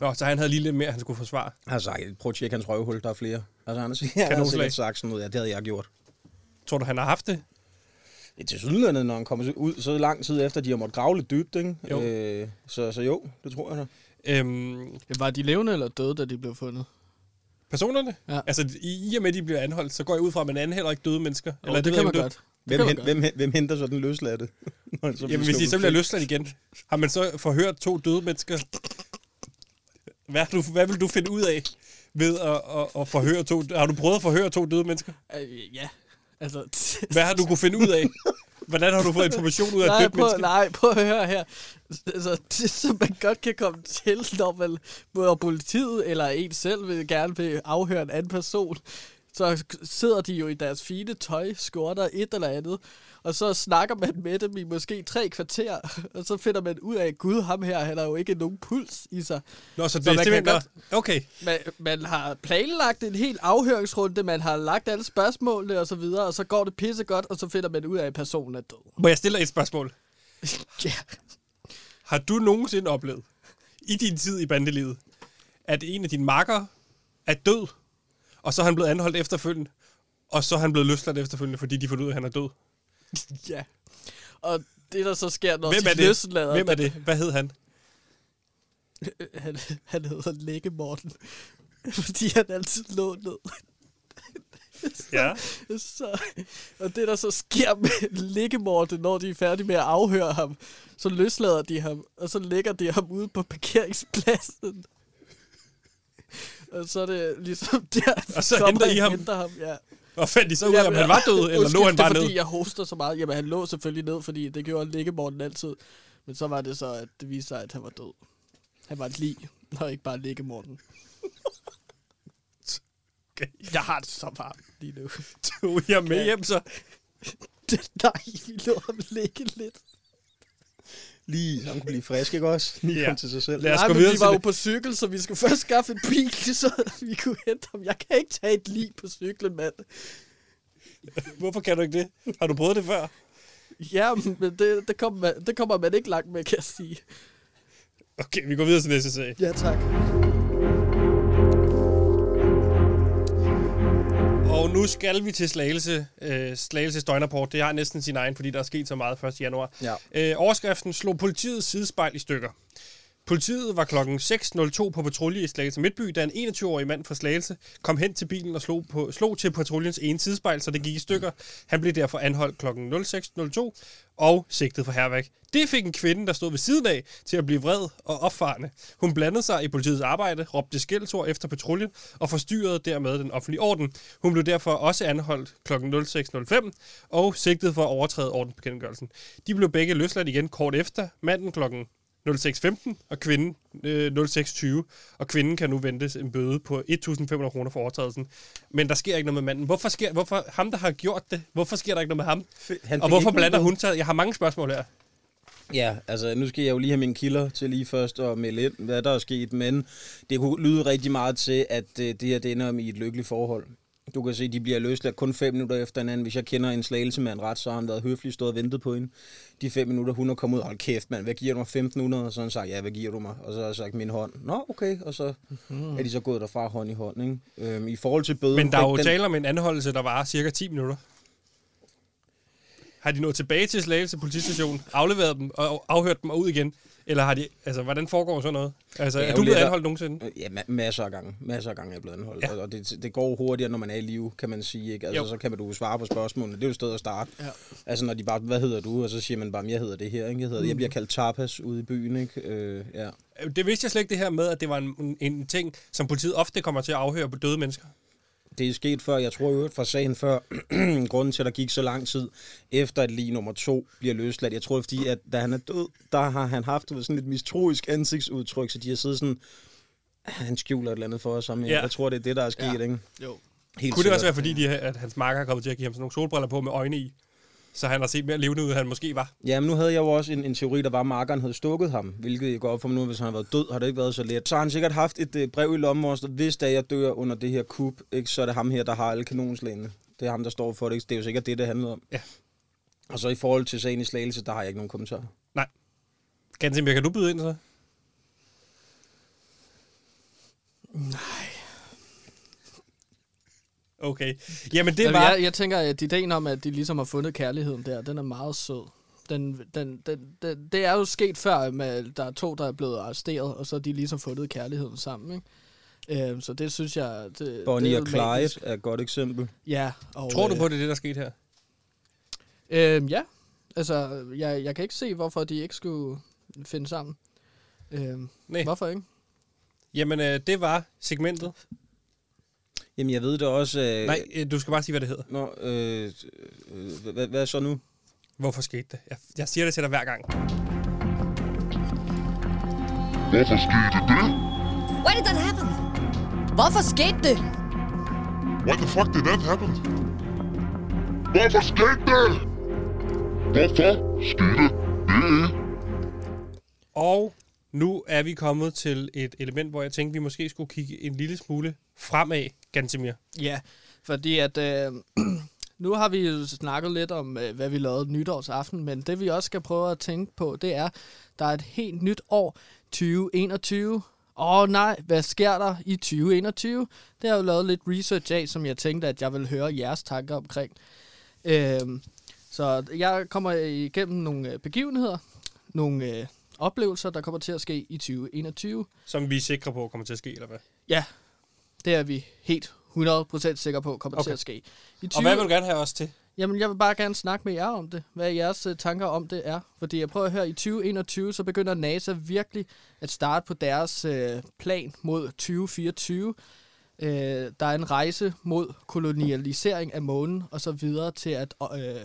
[SPEAKER 1] Nå, så han havde lige lidt mere, han skulle forsvare.
[SPEAKER 3] Han har sagt, prøv at tjekke hans røvhul, der er flere. Altså, han har, sikkert- han har
[SPEAKER 1] Kanonslag.
[SPEAKER 3] sikkert sagt sådan noget, ja, det havde jeg gjort.
[SPEAKER 1] Tror du, han har haft det?
[SPEAKER 3] Det er til når han kommer ud så lang tid efter, de har måttet grave lidt dybt, ikke?
[SPEAKER 1] Jo.
[SPEAKER 3] Øh, så, så jo, det tror jeg da.
[SPEAKER 1] Øhm,
[SPEAKER 2] Var de levende eller døde, da de blev fundet?
[SPEAKER 1] personerne?
[SPEAKER 2] Ja.
[SPEAKER 1] Altså, i, i og med, at de bliver anholdt, så går jeg ud fra, at man anholder ikke døde mennesker.
[SPEAKER 2] Jo, det, det
[SPEAKER 1] ved jeg
[SPEAKER 2] kan man
[SPEAKER 1] ikke, om
[SPEAKER 2] godt.
[SPEAKER 3] Hvem,
[SPEAKER 2] kan man
[SPEAKER 3] hen, hvem, hen- hvem henter så den løsladte? Når han så
[SPEAKER 1] du-
[SPEAKER 3] bliver
[SPEAKER 1] Jamen, hvis de
[SPEAKER 3] sluppet
[SPEAKER 1] så bliver
[SPEAKER 3] fri?
[SPEAKER 1] løsladt igen, har man så forhørt to døde mennesker? Hvad, har du, hvad vil du finde ud af ved at, at, at forhøre to... Har du prøvet at forhøre to døde mennesker?
[SPEAKER 2] Øh, ja. Altså,
[SPEAKER 1] Hvad har du kunne finde ud af? Hvordan har du fået information ud af et
[SPEAKER 2] nej,
[SPEAKER 1] dødt
[SPEAKER 2] prøv,
[SPEAKER 1] menneske?
[SPEAKER 2] nej, prøv at høre her. Altså, det, som man godt kan komme til, når man både politiet eller en selv vil gerne vil afhøre en anden person, så sidder de jo i deres fine tøj, skjorter, et eller andet, og så snakker man med dem i måske tre kvarter, og så finder man ud af, gud, ham her, han har jo ikke nogen puls i sig.
[SPEAKER 1] Nå, så det
[SPEAKER 2] Så
[SPEAKER 1] er
[SPEAKER 2] man kan
[SPEAKER 1] simpelthen godt.
[SPEAKER 2] godt-
[SPEAKER 1] Okay,
[SPEAKER 2] Man, man har planlagt en hel afhøringsrunde, man har lagt alle spørgsmålene og så videre, og så går det pisse godt, og så finder man ud af, at personen er død.
[SPEAKER 1] må jeg stille dig et spørgsmål?
[SPEAKER 2] Ja.
[SPEAKER 1] Har du nogensinde oplevet, i din tid i bandelivet, at en af dine makker er død, og så er han blevet anholdt efterfølgende, og så er han blevet løsladt efterfølgende, fordi de fandt ud af, at han er død?
[SPEAKER 2] Ja. Og det, der så sker, når
[SPEAKER 1] Hvem
[SPEAKER 2] de
[SPEAKER 1] er det?
[SPEAKER 2] løslader...
[SPEAKER 1] Hvem er det? Hvad hed han?
[SPEAKER 2] det? Han, han hedder Lække Morten. Fordi han altid lå ned.
[SPEAKER 1] Ja.
[SPEAKER 2] Så, og det, der så sker med Lække Morten, når de er færdige med at afhøre ham, så løslader de ham, og så lægger de ham ude på parkeringspladsen. Og så er det ligesom der,
[SPEAKER 1] Og så
[SPEAKER 2] kommer
[SPEAKER 1] henter I
[SPEAKER 2] og
[SPEAKER 1] ham?
[SPEAKER 2] henter ham ja.
[SPEAKER 1] Og fandt de så ud af, om han var død, eller
[SPEAKER 2] undskyld,
[SPEAKER 1] lå han bare
[SPEAKER 2] det er,
[SPEAKER 1] ned?
[SPEAKER 2] fordi jeg hoster så meget. Jamen, han lå selvfølgelig ned, fordi det gjorde liggemorten altid. Men så var det så, at det viste sig, at han var død. Han var et lig, og ikke bare liggemorten.
[SPEAKER 1] Okay.
[SPEAKER 2] Jeg har det så varmt lige nu.
[SPEAKER 1] Tog jeg med hjem, så...
[SPEAKER 2] Nej, vi lå ham ligge lidt.
[SPEAKER 3] Lige, så han kunne blive frisk, ikke også? Lige
[SPEAKER 1] Ja.
[SPEAKER 3] ja. komme til sig selv.
[SPEAKER 1] Lad os
[SPEAKER 2] Nej,
[SPEAKER 1] gå
[SPEAKER 2] men
[SPEAKER 1] videre
[SPEAKER 2] vi var jo
[SPEAKER 1] til
[SPEAKER 2] på cykel, så vi skulle først skaffe en bil, så vi kunne hente ham. Jeg kan ikke tage et lig på cyklen, mand.
[SPEAKER 1] det. Hvorfor kan du ikke det? Har du prøvet det før?
[SPEAKER 2] Ja, men det, det, kommer man, det kommer man ikke langt med, kan jeg sige.
[SPEAKER 1] Okay, vi går videre til næste sag.
[SPEAKER 2] Ja, tak.
[SPEAKER 1] Og nu skal vi til Slagelse. Øh, Slagelse døgnrapport. Det har næsten sin egen, fordi der er sket så meget 1. januar.
[SPEAKER 3] Ja.
[SPEAKER 1] Øh, overskriften slog politiets sidespejl i stykker. Politiet var kl. 6.02 på patrulje i Slagelse Midtby, da en 21-årig mand fra Slagelse kom hen til bilen og slog, på, slog til patruljens ene sidespejl, så det gik i stykker. Han blev derfor anholdt kl. 06.02 og sigtet for herværk. Det fik en kvinde, der stod ved siden af, til at blive vred og opfarende. Hun blandede sig i politiets arbejde, råbte skældsord efter patruljen og forstyrrede dermed den offentlige orden. Hun blev derfor også anholdt kl. 06.05 og sigtet for at overtræde ordensbekendtgørelsen. De blev begge løsladt igen kort efter. Manden klokken 06.15 og kvinden øh, 06.20. Og kvinden kan nu ventes en bøde på 1.500 kroner for overtrædelsen. Men der sker ikke noget med manden. Hvorfor sker hvorfor, ham, der har gjort det, hvorfor sker der ikke noget med ham?
[SPEAKER 3] Han
[SPEAKER 1] Og
[SPEAKER 3] fik
[SPEAKER 1] hvorfor
[SPEAKER 3] ikke
[SPEAKER 1] blander
[SPEAKER 3] nogen
[SPEAKER 1] hun sig? Jeg har mange spørgsmål her.
[SPEAKER 3] Ja, altså nu skal jeg jo lige have mine kilder til lige først at melde ind, hvad der er sket, men det kunne lyde rigtig meget til, at øh, det her det ender om i et lykkeligt forhold. Du kan se, de bliver løsladt kun fem minutter efter hinanden. Hvis jeg kender en slagelsemand ret, så har han været høflig stået og ventet på hende. De fem minutter, hun er kommet ud, hold kæft mand, hvad giver du mig? 1500? Og så har han sagt, ja, hvad giver du mig? Og så har jeg sagt, min hånd. Nå, okay. Og så er de så gået derfra hånd i hånd, ikke? Øhm, I forhold til bøden...
[SPEAKER 1] Mhm. Men der er jo
[SPEAKER 3] den-
[SPEAKER 1] tale om en anholdelse, der varer cirka 10 minutter. Har de nået tilbage til Slagelse politistation, afleveret dem og afhørt dem og ud igen? Eller har de... Altså, hvordan foregår sådan noget? Altså,
[SPEAKER 3] Det er
[SPEAKER 1] er
[SPEAKER 3] jo
[SPEAKER 1] du blevet
[SPEAKER 3] lidt-
[SPEAKER 1] anholdt nogensinde?
[SPEAKER 3] Øh, Ja, ma- masser af gange. Masser af gange er jeg blevet anholdt.
[SPEAKER 1] Ja.
[SPEAKER 3] Ja. Og det, det går hurtigere, når man er i live, kan man sige. Ikke? Altså,
[SPEAKER 1] Jo.
[SPEAKER 3] så kan man du svare på spørgsmålene. Det er jo et sted at starte. Ja. Altså, når de bare, hvad hedder du? Og så siger man bare, jeg hedder det her. Ikke? Jeg, hedder, jeg bliver kaldt tapas ude i byen. Ikke? Øh, ja.
[SPEAKER 1] Det vidste jeg slet ikke det her med, at det var en, en, en ting, som politiet ofte kommer til at afhøre på døde mennesker.
[SPEAKER 3] det er sket før. Jeg tror i øvrigt fra sagen før, grunden til, at der gik så lang tid, efter at lige nummer to bliver løsladt. Jeg tror, det er fordi, at da han er død, der har han haft du ved, sådan et mistroisk ansigtsudtryk, så de har siddet sådan, han skjuler et eller andet for os. Ja.
[SPEAKER 1] Ja.
[SPEAKER 3] Jeg tror, det er det, der er sket, ja. ikke?
[SPEAKER 2] Jo.
[SPEAKER 3] Helt
[SPEAKER 1] Kunne det også
[SPEAKER 3] sikkert.
[SPEAKER 1] være, fordi de, at hans marker er kommet til at give ham sådan nogle solbriller på med øjne i, så han har set mere levende ud, end han måske var?
[SPEAKER 3] Jamen, nu havde jeg jo også en, en teori, der var, at markeren havde stukket ham, hvilket jeg går op for mig nu, hvis han havde været død, har det ikke været så let. Så har han sikkert haft et øh, brev i lommen, hvor der stod, hvis da jeg dør under det her kub, ikke, så er det ham her, der har alle kanonslagene. Det er ham, der står for det. Ikke? Det er jo sikkert det, det handlede om.
[SPEAKER 1] Ja.
[SPEAKER 3] Og så i forhold til sagen i Slagelse, der har jeg ikke nogen kommentarer.
[SPEAKER 1] Nej. Gansimir, kan du byde ind så?
[SPEAKER 2] Nej.
[SPEAKER 1] Okay. Jamen, det
[SPEAKER 2] Det var...
[SPEAKER 1] var...
[SPEAKER 2] jeg, jeg tænker, at ideen om, at de ligesom har fundet kærligheden der, den er meget sød. Den, den, den, den, det er jo sket før, med, der er to, der er blevet arresteret, og så har de ligesom fundet kærligheden sammen, ikke? Øhm, så det synes jeg... Det, det
[SPEAKER 3] Bonnie
[SPEAKER 2] er
[SPEAKER 3] og
[SPEAKER 2] jo
[SPEAKER 3] Clyde
[SPEAKER 2] magisk.
[SPEAKER 3] er et godt eksempel.
[SPEAKER 2] Ja. Og,
[SPEAKER 1] Tror du på, det er det, der skete her?
[SPEAKER 2] Øh, øhm, ja. Altså, jeg, jeg kan ikke se, hvorfor de ikke skulle finde sammen. Øhm,
[SPEAKER 1] Nej.
[SPEAKER 2] Hvorfor ikke?
[SPEAKER 1] Jamen, øh, det var segmentet.
[SPEAKER 3] Jamen, jeg ved det også... Øh,
[SPEAKER 1] Nej, øh, du skal bare sige, hvad det hedder.
[SPEAKER 3] Nå, øh, øh, hvad- hvad, hvad så nu?
[SPEAKER 1] Hvorfor skete det? Jeg, jeg siger det til dig hver gang.
[SPEAKER 5] Hvorfor skete det?
[SPEAKER 6] Why did that happen? Hvorfor skete det?
[SPEAKER 5] Why the fuck did that happen? Hvorfor skete det? Hvorfor skete det?
[SPEAKER 1] Og nu er vi kommet til et element, hvor jeg tænkte, vi måske skulle kigge en lille smule fremad, Gansimir.
[SPEAKER 2] Ja, fordi at øh, nu har vi jo snakket lidt om, øh, hvad vi lavede nytårsaften, men det vi også skal prøve at tænke på, det er, der er et helt nyt år, 2021. Åh nej, hvad sker der i 2021? Det har jeg jo lavet lidt research af, som jeg tænkte, at jeg vil høre jeres tanker omkring. Øhm, så jeg kommer igennem nogle øh, begivenheder, nogle øh, oplevelser, der kommer til at ske i 2021.
[SPEAKER 1] Som vi er sikre på kommer til at ske, eller hvad?
[SPEAKER 2] Ja, det er vi helt 100% sikre på kommer okay. til
[SPEAKER 1] Okay.
[SPEAKER 2] at ske. I 20...
[SPEAKER 1] Og hvad vil du gerne have os til?
[SPEAKER 2] Jamen, jeg vil bare gerne snakke med jer om det. Hvad jeres øh, tanker om det er. Fordi jeg prøver at høre, i 2021, så begynder NASA virkelig at starte på deres øh, plan mod 2024. Øh, der er en rejse mod kolonialisering af månen, og så videre til at øh,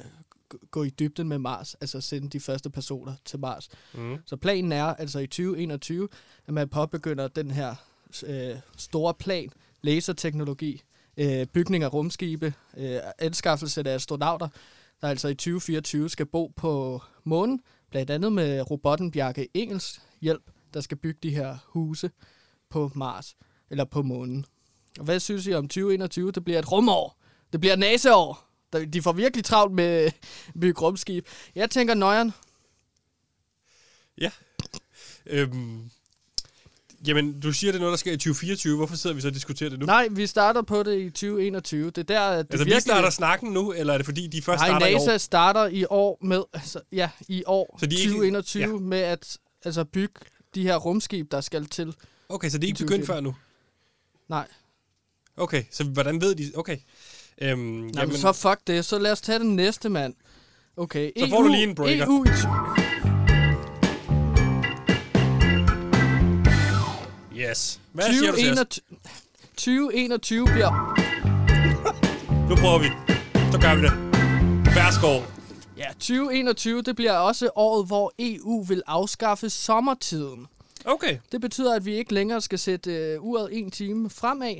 [SPEAKER 2] g- gå i dybden med Mars, altså sende de første personer til Mars. Mm. Så planen er altså i 2021, at man påbegynder den her øh, store plan, laserteknologi, øh, bygning af rumskibe, øh, anskaffelse af astronauter, der altså i 2024 skal bo på månen, blandt andet med robotten Bjarke Engels hjælp, der skal bygge de her huse på Mars, eller på månen. Og hvad synes I om 2021? Det bliver et rumår. Det bliver et NASA-år. Der- De får virkelig travlt med at bygge rumskib. Jeg tænker nøjeren.
[SPEAKER 1] Ja. Øhm, jamen, du siger, det er noget, der sker i 2024. Hvorfor sidder vi så og diskuterer det nu?
[SPEAKER 2] Nej, vi starter på det i 2021. Det er der, at det
[SPEAKER 1] altså, vi
[SPEAKER 2] virkelig...
[SPEAKER 1] starter snakken nu, eller er det fordi, de først
[SPEAKER 2] Nej,
[SPEAKER 1] starter
[SPEAKER 2] NASA
[SPEAKER 1] i år?
[SPEAKER 2] starter i år med, altså, ja, i år
[SPEAKER 1] Så
[SPEAKER 2] så
[SPEAKER 1] de
[SPEAKER 2] de
[SPEAKER 1] er ikke-
[SPEAKER 2] 2021
[SPEAKER 1] ja.
[SPEAKER 2] ikke, ja. med at altså, bygge de her rumskib, der skal til.
[SPEAKER 1] Okay, så det er ikke
[SPEAKER 2] I
[SPEAKER 1] begyndt
[SPEAKER 2] 2024.
[SPEAKER 1] før nu?
[SPEAKER 2] Nej,
[SPEAKER 1] Okay, så hvordan ved de... Okay. Øhm, jamen,
[SPEAKER 2] Jamen. så fuck det. Så lad os tage den næste, mand. Okay, E
[SPEAKER 1] Så
[SPEAKER 2] EU,
[SPEAKER 1] får du lige en breaker.
[SPEAKER 2] EU i t-
[SPEAKER 1] Yes. Hvad siger du til os?
[SPEAKER 2] 2021 2021 bliver...
[SPEAKER 1] Nu prøver vi. Så gør vi det. Værsgo.
[SPEAKER 2] Ja, 2021, det bliver også året, hvor EU vil afskaffe sommertiden.
[SPEAKER 1] Okay.
[SPEAKER 2] Det betyder, at vi ikke længere skal sætte øh, uret en time fremad,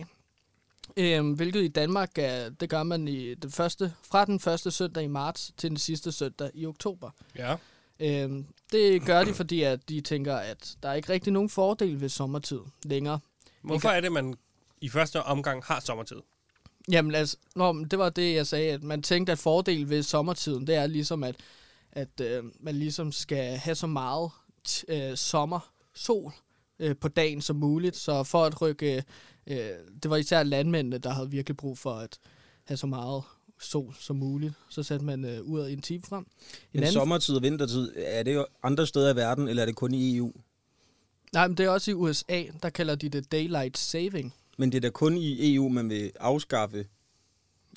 [SPEAKER 2] øh, hvilket i Danmark, øh, det gør man i den første, fra den første søndag i marts til den sidste søndag i oktober.
[SPEAKER 1] Ja.
[SPEAKER 2] Øh, det gør de, fordi at de tænker, at der er ikke rigtig nogen fordel ved sommertid længere.
[SPEAKER 1] Hvorfor er det, man i første omgang har sommertid?
[SPEAKER 2] Jamen altså, nå, men det var det, jeg sagde, at man tænkte, at fordel ved sommertiden, det er ligesom, at, at øh, man ligesom skal have så meget t- øh, sommer, sol øh, på dagen som muligt, så for at rykke, øh, det var især landmændene, der havde virkelig brug for at have så meget sol som muligt, så satte man øh, uret en time frem. En
[SPEAKER 3] Men sommertid og vintertid, er det jo andre steder i verden, eller er det kun i E EU?
[SPEAKER 2] Nej, men det er også i USA, der kalder de det daylight saving.
[SPEAKER 3] Men det er da kun i EU, man vil afskaffe.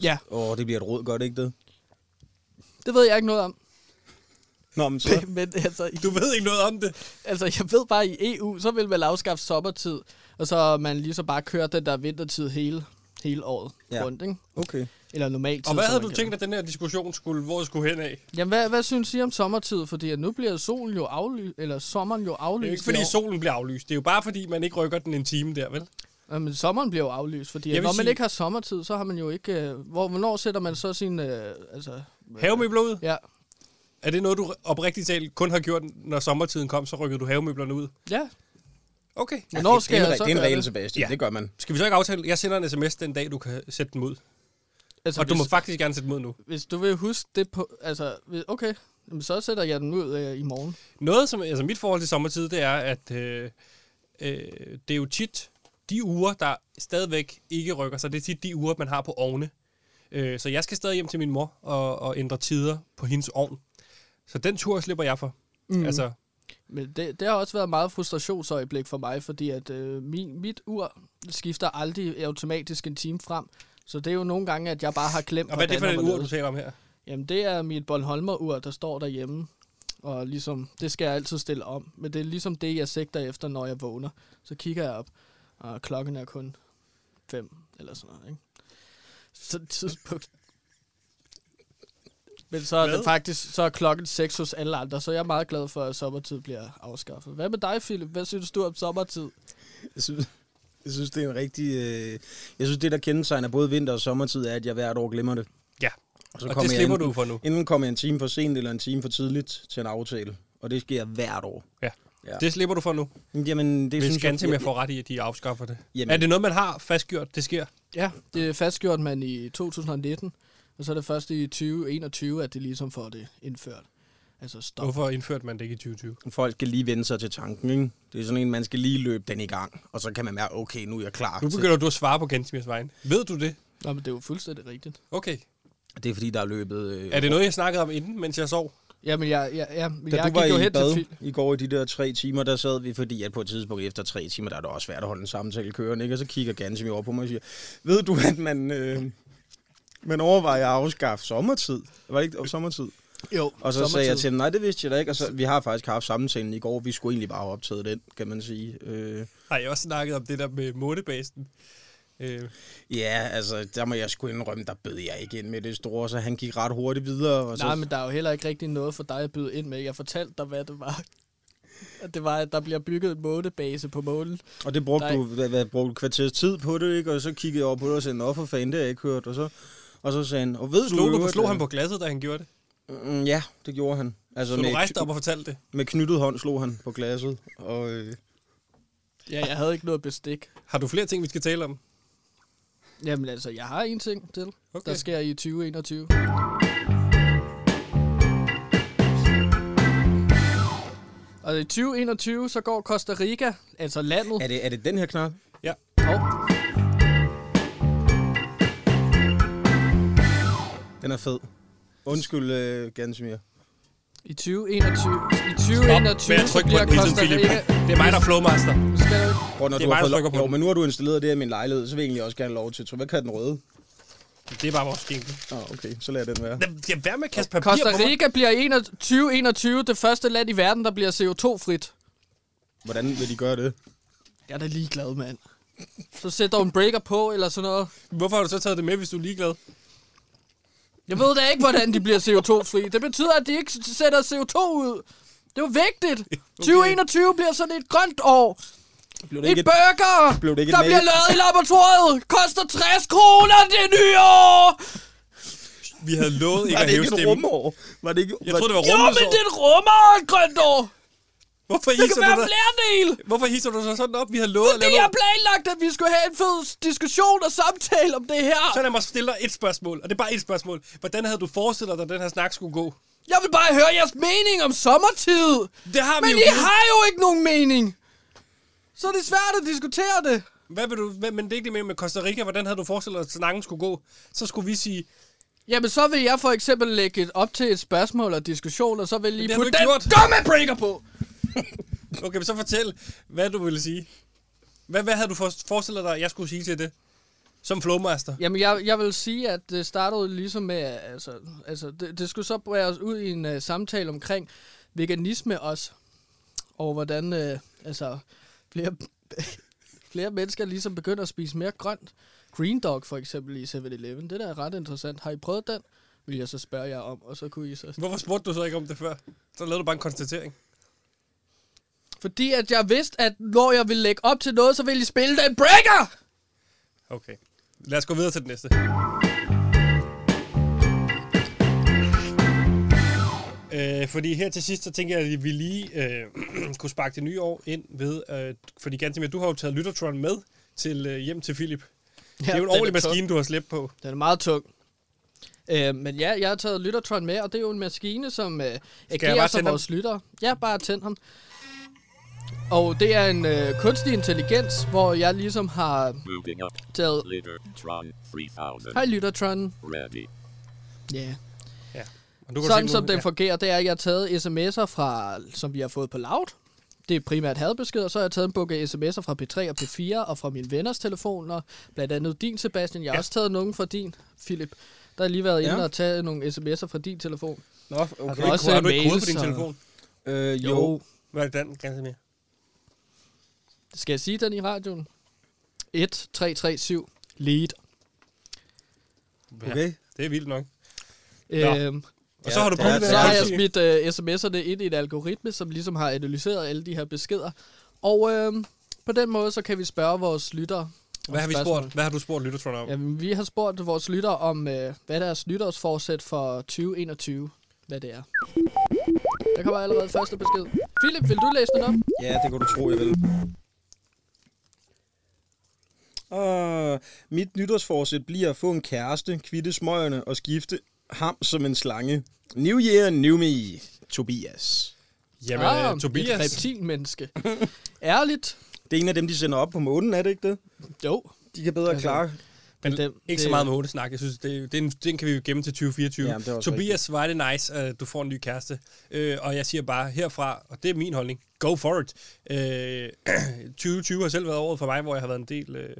[SPEAKER 2] Ja,
[SPEAKER 3] Åh, oh, det bliver et råd, gør det ikke det?
[SPEAKER 2] det ved jeg ikke noget om,
[SPEAKER 3] Nå, men så...
[SPEAKER 2] men altså,
[SPEAKER 1] Du ved ikke noget om det.
[SPEAKER 2] Altså, jeg ved bare, i EU, så vil man afskaffe sommertid, og så man lige så bare kører den der vintertid hele, hele året
[SPEAKER 3] Ja.
[SPEAKER 2] ja. rundt, ikke?
[SPEAKER 3] Okay.
[SPEAKER 2] Eller normalt
[SPEAKER 1] Og hvad havde du tænkt, at den her diskussion skulle, hvor skulle hen af?
[SPEAKER 2] Jamen, hvad, hvad synes I om sommertid? Fordi at nu bliver solen jo aflyst, eller sommeren Hm, jo
[SPEAKER 1] Det
[SPEAKER 2] aflyst.
[SPEAKER 1] er jo ikke,
[SPEAKER 2] i
[SPEAKER 1] fordi
[SPEAKER 2] år.
[SPEAKER 1] solen bliver aflyst. Det er jo bare, fordi man ikke rykker den en time der, vel?
[SPEAKER 2] Jamen, sommeren bliver jo aflyst, fordi
[SPEAKER 1] Jeg
[SPEAKER 2] at
[SPEAKER 1] vil
[SPEAKER 2] når man
[SPEAKER 1] sige-
[SPEAKER 2] ikke har sommertid, så har man jo ikke... Øh, hvor, hvornår sætter man så sin... Øh, altså,
[SPEAKER 1] Havemøbler ud?
[SPEAKER 2] ja.
[SPEAKER 1] Er det noget, du oprigtigt talt kun har gjort, når sommertiden kom, så rykkede du havemøblerne ud?
[SPEAKER 2] ja.
[SPEAKER 1] Okay.
[SPEAKER 2] Hvornår
[SPEAKER 3] det,
[SPEAKER 2] skal
[SPEAKER 3] er en,
[SPEAKER 2] jeg
[SPEAKER 3] re-
[SPEAKER 2] så
[SPEAKER 3] det er en
[SPEAKER 2] gøre
[SPEAKER 3] regel,
[SPEAKER 2] det?
[SPEAKER 3] Sebastian.
[SPEAKER 1] Ja.
[SPEAKER 3] Det gør man.
[SPEAKER 1] Skal vi så ikke aftale? Jeg sender en sms den dag, du kan sætte dem ud.
[SPEAKER 2] Altså,
[SPEAKER 1] Og du
[SPEAKER 2] hvis,
[SPEAKER 1] må faktisk gerne sætte dem ud nu.
[SPEAKER 2] hvis du vil huske det på... Altså, hvis- okay. Jamen, så sætter jeg den ud øh, i morgen.
[SPEAKER 1] Noget, som altså mit forhold til sommertid, det er, at øh, øh, det er jo tit de uger, der stadigvæk ikke rykker sig. Det er tit de uger, man har på ovne. Øh, så jeg skal stadig hjem til min mor og, og ændre tider på hendes ovn. Så den tur slipper jeg for. Mm. Altså,
[SPEAKER 2] Men det, det har også været meget frustrationsøjeblik for mig, fordi at øh, min, mit ur skifter aldrig automatisk en time frem. Så det er jo nogle gange, at jeg bare har klemt...
[SPEAKER 1] og hvad er det for
[SPEAKER 2] hvordan
[SPEAKER 1] en
[SPEAKER 2] og
[SPEAKER 1] ur, du
[SPEAKER 2] hvorledes.
[SPEAKER 1] taler om her?
[SPEAKER 2] Jamen, det er mit Bornholmer-ur, der står derhjemme. Og ligesom, det skal jeg altid stille om. Men det er ligesom det, jeg sigter efter, når jeg vågner. Så kigger jeg op, og klokken er kun fem, eller sådan noget, ikke? Så et tidspunkt. Men så er, det faktisk, så er klokken seks hos alle andre, så jeg er meget glad for, at sommertid bliver afskaffet. Hvad med dig, Philip? Hvad synes du om sommertid?
[SPEAKER 3] Jeg synes, jeg synes, det er en rigtig... Øh, jeg synes, det, der kendetegner både vinter og sommertid, er, at jeg hvert år glemmer det.
[SPEAKER 1] Ja,
[SPEAKER 3] så
[SPEAKER 1] og
[SPEAKER 3] kommer
[SPEAKER 1] det
[SPEAKER 3] jeg
[SPEAKER 1] slipper
[SPEAKER 3] enten-
[SPEAKER 1] du for nu.
[SPEAKER 3] Inden kommer jeg en time for sent eller en time for tidligt til en aftale. Og det sker hvert år.
[SPEAKER 1] Ja.
[SPEAKER 3] Ja.
[SPEAKER 1] Det slipper du for nu.
[SPEAKER 3] Jamen, det
[SPEAKER 1] Hvis
[SPEAKER 3] synes jeg...
[SPEAKER 1] Gantim jeg får ret i, at de afskaffer det.
[SPEAKER 3] Jamen.
[SPEAKER 1] Er det noget, man har fastgjort, det sker?
[SPEAKER 2] Ja, det fastgjort man i 2019, og så er det først i 2021, at det ligesom får det indført. Altså stop.
[SPEAKER 1] Hvorfor indførte man det ikke i 2020?
[SPEAKER 3] Folk skal lige vende sig til tanken, ikke? Det er sådan en, man skal lige løbe den i gang. Og så kan man mærke, okay, nu er jeg klar.
[SPEAKER 1] Nu
[SPEAKER 3] til-
[SPEAKER 1] begynder du at svare på Gantimirs vejen. Ved du det?
[SPEAKER 2] Nå, men det er jo fuldstændig rigtigt.
[SPEAKER 1] Okay.
[SPEAKER 3] Det er fordi, der er løbet... Øh,
[SPEAKER 1] Er det noget, jeg snakkede om inden, mens jeg sov?
[SPEAKER 2] Jamen, jeg, jeg, jeg,
[SPEAKER 3] Da
[SPEAKER 2] jeg
[SPEAKER 3] du var
[SPEAKER 2] gik jo
[SPEAKER 3] i
[SPEAKER 2] hen til
[SPEAKER 3] bad
[SPEAKER 2] Phil.
[SPEAKER 3] i går i de der tre timer, der sad vi, fordi at på et tidspunkt efter tre timer, der er det også svært at holde en samtale kørende, ikke? Og så kigger Gansim over på mig og siger, ved du, at man, øh, man overvejer at afskaffe sommertid? Var det ikke og sommertid?
[SPEAKER 2] Jo,
[SPEAKER 3] Og så sagde jeg til dem, nej, det vidste jeg da ikke. Og så, vi har faktisk haft samtalen i går, vi skulle egentlig bare have optaget den, kan man sige. Øh,
[SPEAKER 1] Nej, jeg har også snakket om det der med månebasen. Øh,
[SPEAKER 3] ja, altså, der må jeg sgu indrømme, der bød jeg ikke ind med det store, så han gik ret hurtigt videre. Og så,
[SPEAKER 2] Nej, men der er jo heller ikke rigtig noget for dig at byde ind med. Jeg fortalte dig, hvad det var. At det var, at der bliver bygget en månebase på månen.
[SPEAKER 3] Og det brugte
[SPEAKER 2] Nej.
[SPEAKER 3] du, hvad, hvad, brugte du et kvarters tid på det, ikke? Og så kiggede jeg over på det og sagde, nå for fanden, det har jeg ikke hørt. Og så, og så sagde han, og ved
[SPEAKER 1] slog,
[SPEAKER 3] i
[SPEAKER 1] du,
[SPEAKER 3] øvrigt,
[SPEAKER 1] slog
[SPEAKER 3] øh,
[SPEAKER 1] han på glasset, da han gjorde det?
[SPEAKER 3] Mm, ja, det gjorde han. Altså
[SPEAKER 1] Så du
[SPEAKER 3] med,
[SPEAKER 1] rejste dig op og fortalte det.
[SPEAKER 3] med knyttet hånd slog han på glasset. Og, øh,
[SPEAKER 2] Ja, jeg havde ikke noget bestik.
[SPEAKER 1] Har du flere ting, vi skal tale om?
[SPEAKER 2] Jamen altså, jeg har en ting til,
[SPEAKER 1] Okay.
[SPEAKER 2] okay. der sker i 2021. Og i 2021, så går Costa Rica, altså landet,
[SPEAKER 3] er, det, er det den her knap?
[SPEAKER 1] Ja.
[SPEAKER 2] Hov,
[SPEAKER 3] Den er fed. Undskyld, øh, Gansmir.
[SPEAKER 2] i 2021, i
[SPEAKER 1] Stop
[SPEAKER 2] 2021,
[SPEAKER 1] med at
[SPEAKER 2] så
[SPEAKER 1] trykke på
[SPEAKER 2] bliver
[SPEAKER 1] den hele tiden,
[SPEAKER 2] Costa
[SPEAKER 1] Philip.
[SPEAKER 2] Rica...
[SPEAKER 1] Det er mig, der er flowmaster.
[SPEAKER 2] Nu skal du ikke-
[SPEAKER 3] Prøv, når
[SPEAKER 1] Det er
[SPEAKER 3] du
[SPEAKER 1] mig, der
[SPEAKER 3] har fået lov-
[SPEAKER 1] trykker på
[SPEAKER 3] jo,
[SPEAKER 1] den.
[SPEAKER 3] men nu har du installeret det her i min lejlighed, så vil jeg egentlig også gerne have lov til. Tror, hvad kan den røde?
[SPEAKER 1] Det er bare vores skænke.
[SPEAKER 3] Åh, oh, okay, så lader jeg den være.
[SPEAKER 1] Jeg være med at kaste papir
[SPEAKER 2] Costa
[SPEAKER 1] på mig.
[SPEAKER 2] Rica bliver 21 2021 det første land i verden, der bliver CO2-frit.
[SPEAKER 3] Hvordan vil de gøre det?
[SPEAKER 2] Jeg er da ligeglad, mand. Så sæt dog en breaker på, eller sådan noget.
[SPEAKER 1] Hvorfor har du så taget det med, hvis du er ligeglad?
[SPEAKER 2] Jeg ved da ikke, hvordan de bliver CO2-fri. Det betyder, at de ikke s- sætter CO2 ud. Det er jo vigtigt. 2021 bliver sådan et grønt år.
[SPEAKER 3] Blev det
[SPEAKER 2] Et
[SPEAKER 3] ikke et,
[SPEAKER 2] burger,
[SPEAKER 3] blev det ikke et
[SPEAKER 2] der
[SPEAKER 3] male-
[SPEAKER 2] bliver lavet i laboratoriet. Koster 60 kroner det nye år.
[SPEAKER 1] Vi havde lovet ikke
[SPEAKER 3] var
[SPEAKER 1] at
[SPEAKER 3] det
[SPEAKER 1] hæve
[SPEAKER 3] ikke et
[SPEAKER 1] stemmen.
[SPEAKER 3] rumår? Var det ikke,
[SPEAKER 1] Jeg troede, det var
[SPEAKER 2] Jo, men
[SPEAKER 1] rummet.
[SPEAKER 2] det rummer et grønt år.
[SPEAKER 1] Hvorfor
[SPEAKER 2] Det
[SPEAKER 1] hisser
[SPEAKER 2] kan
[SPEAKER 1] du
[SPEAKER 2] være
[SPEAKER 1] dig?
[SPEAKER 2] flere dele.
[SPEAKER 1] Hvorfor hisser du dig sådan op? Vi havde lovet at
[SPEAKER 2] Det
[SPEAKER 1] lave
[SPEAKER 2] er
[SPEAKER 1] noget.
[SPEAKER 2] planlagt, at vi skulle have en fed diskussion og samtale om det her.
[SPEAKER 1] Så lad mig stille dig et spørgsmål, og det er bare et spørgsmål. Hvordan havde du forestillet dig, at den her snak skulle gå?
[SPEAKER 2] Jeg vil bare høre jeres mening om sommertid.
[SPEAKER 1] Det har vi
[SPEAKER 2] Men
[SPEAKER 1] jo
[SPEAKER 2] I
[SPEAKER 1] givet.
[SPEAKER 2] har jo ikke nogen mening. Så er det svært at diskutere det.
[SPEAKER 1] Hvad vil du, hvad, men det er ikke det med, med Costa Rica. Hvordan havde du forestillet dig, at snakken skulle gå? Så skulle vi sige,
[SPEAKER 2] Jamen, så vil jeg for eksempel lægge et op til et spørgsmål og diskussion, og så vil I
[SPEAKER 1] det har
[SPEAKER 2] putte
[SPEAKER 1] du
[SPEAKER 2] den
[SPEAKER 1] ikke gjort.
[SPEAKER 2] dumme breaker på.
[SPEAKER 1] okay, men så fortæl, hvad du ville sige. Hvad, hvad havde du for, forestillet dig, at jeg skulle sige til det? Som flowmaster.
[SPEAKER 2] Jamen, jeg, jeg vil sige, at det startede ligesom med, altså, altså det, det skulle så brære os ud i en uh, samtale omkring veganisme også, og hvordan, øh, uh, altså, flere, flere mennesker ligesom begynder at spise mere grønt, Green Dog for eksempel i 7-Eleven. Det der er ret interessant. Har I prøvet den? Vil jeg så spørge jer om, og så kunne I så
[SPEAKER 1] Hvorfor spurgte du så ikke om det før? Så lavede du bare en konstatering.
[SPEAKER 2] Fordi at jeg vidste, at når jeg ville lægge op til noget, så ville I spille den breaker!
[SPEAKER 1] Okay. Lad os gå videre til det næste. Øh, fordi her til sidst, så tænker jeg, at vi lige øh, kunne sparke det nye år ind ved, øh, fordi Gantemir, du har jo taget Lyttertron med til øh, hjem til Philip. Ja, det er jo en
[SPEAKER 2] den
[SPEAKER 1] ordentlig
[SPEAKER 2] tung.
[SPEAKER 1] maskine, du har slæbt på.
[SPEAKER 2] Den er meget tung. Øh, men ja, jeg har taget Lyttertron med, og det er jo en maskine, som øh, agerer
[SPEAKER 1] bare
[SPEAKER 2] som
[SPEAKER 1] tænde ham?
[SPEAKER 2] vores lytter. Ja, bare tænd ham. Og det er en øh, kunstig intelligens, hvor jeg ligesom har
[SPEAKER 7] Moving up.
[SPEAKER 2] taget...
[SPEAKER 7] Later. Tron 3000.
[SPEAKER 2] Hej Lyttertron.
[SPEAKER 7] Ready.
[SPEAKER 2] Ja. Yeah.
[SPEAKER 1] Og du kan
[SPEAKER 2] Sådan
[SPEAKER 1] se
[SPEAKER 2] som
[SPEAKER 1] nu-
[SPEAKER 2] den fungerer, det er, at jeg har taget sms'er fra, som vi har fået på Loud. Det er primært hadbeskeder, så har jeg taget en bukke sms'er fra P3 og P4 og fra mine venners telefoner. Blandt andet din, Sebastian. Jeg har ja. også taget nogen fra din, Philip. Der har lige været ja.
[SPEAKER 3] Ja.
[SPEAKER 2] inde og taget nogle sms'er fra din telefon.
[SPEAKER 3] Nå, okay.
[SPEAKER 2] der også
[SPEAKER 1] Har du ikke
[SPEAKER 2] mails
[SPEAKER 1] kode på din
[SPEAKER 2] og-
[SPEAKER 1] telefon?
[SPEAKER 3] Øh, jo.
[SPEAKER 1] Hvad er den, Gantemir?
[SPEAKER 2] Skal jeg sige den i radioen? 1337 lead.
[SPEAKER 3] Okay.
[SPEAKER 1] Det er vildt nok. Nå.
[SPEAKER 2] Øhm,
[SPEAKER 1] Og så har du
[SPEAKER 3] Ja,
[SPEAKER 1] prøvet
[SPEAKER 3] det
[SPEAKER 1] det.
[SPEAKER 3] er-
[SPEAKER 2] Så har jeg
[SPEAKER 3] altid-
[SPEAKER 2] smidt øh, sms'erne ind i en algoritme, som ligesom har analyseret alle de her beskeder. Og øh, på den måde, så kan vi spørge vores lyttere.
[SPEAKER 1] Hvad har vi spurgt? Hvad har du spurgt Lyttertron om?
[SPEAKER 2] Jamen, vi har spurgt vores lyttere om, øh, hvad deres nytårsforsæt for 2021, hvad det er. Der kommer allerede første besked. Philip, vil du læse den op?
[SPEAKER 3] Ja, det kan du tro, jeg vil. Og Ah, mit nytårsforsæt bliver at få en kæreste, kvitte smøgerne og skifte ham som en slange. New year, new me, Tobias.
[SPEAKER 1] Jamen, øh,
[SPEAKER 2] Ah, Et
[SPEAKER 1] Tobias.
[SPEAKER 2] reptilmenneske. Ærligt?
[SPEAKER 3] Det er en af dem, de sender op på månen, er det ikke det?
[SPEAKER 2] Jo.
[SPEAKER 3] De kan bedre
[SPEAKER 2] Altså,
[SPEAKER 3] klare.
[SPEAKER 1] Men
[SPEAKER 2] Men den-
[SPEAKER 1] ikke
[SPEAKER 2] det-
[SPEAKER 1] så meget med snak. Jeg synes, det, det er en, den kan vi jo gemme til 2024.
[SPEAKER 3] Jamen, det er også
[SPEAKER 1] Tobias, var det nice, at du får en ny kæreste. Øh, og jeg siger bare herfra, og det er min holdning, go for it. Øh, 2020 har selv været året for mig, hvor jeg har været en del... Øh,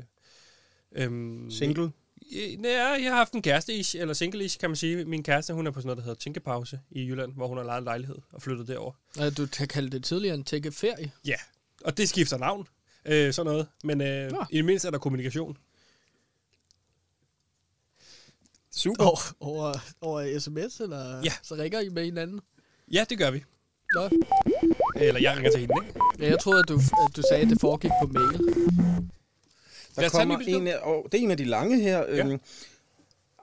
[SPEAKER 1] øhm,
[SPEAKER 3] Single.
[SPEAKER 1] Øh, nej, jeg har haft en kæreste-ish, eller single-ish, kan man sige. Min kæreste, hun er på sådan noget, der hedder Tænkepause i Jylland, hvor hun har lejet en lejlighed og flyttet derover.
[SPEAKER 2] Øh, Du kan kalde det tidligere en tække ferie.
[SPEAKER 1] Ja, og det skifter navn. Øh, sådan noget. Men øh,
[SPEAKER 2] Nå.
[SPEAKER 1] i det mindste er der kommunikation.
[SPEAKER 3] Super.
[SPEAKER 2] Over, over, over sms, eller
[SPEAKER 1] Ja.
[SPEAKER 2] så ringer I med hinanden?
[SPEAKER 1] Ja, det gør vi.
[SPEAKER 2] Nå.
[SPEAKER 1] Eller jeg ringer til hende, ikke?
[SPEAKER 2] Ja, jeg troede, at du, at du sagde, at det foregik på mail.
[SPEAKER 1] Lad
[SPEAKER 3] Der
[SPEAKER 1] os tage
[SPEAKER 3] kommer
[SPEAKER 1] en ny besked.
[SPEAKER 3] en af, og det er en af de lange her.
[SPEAKER 1] Ja.
[SPEAKER 3] Øhm,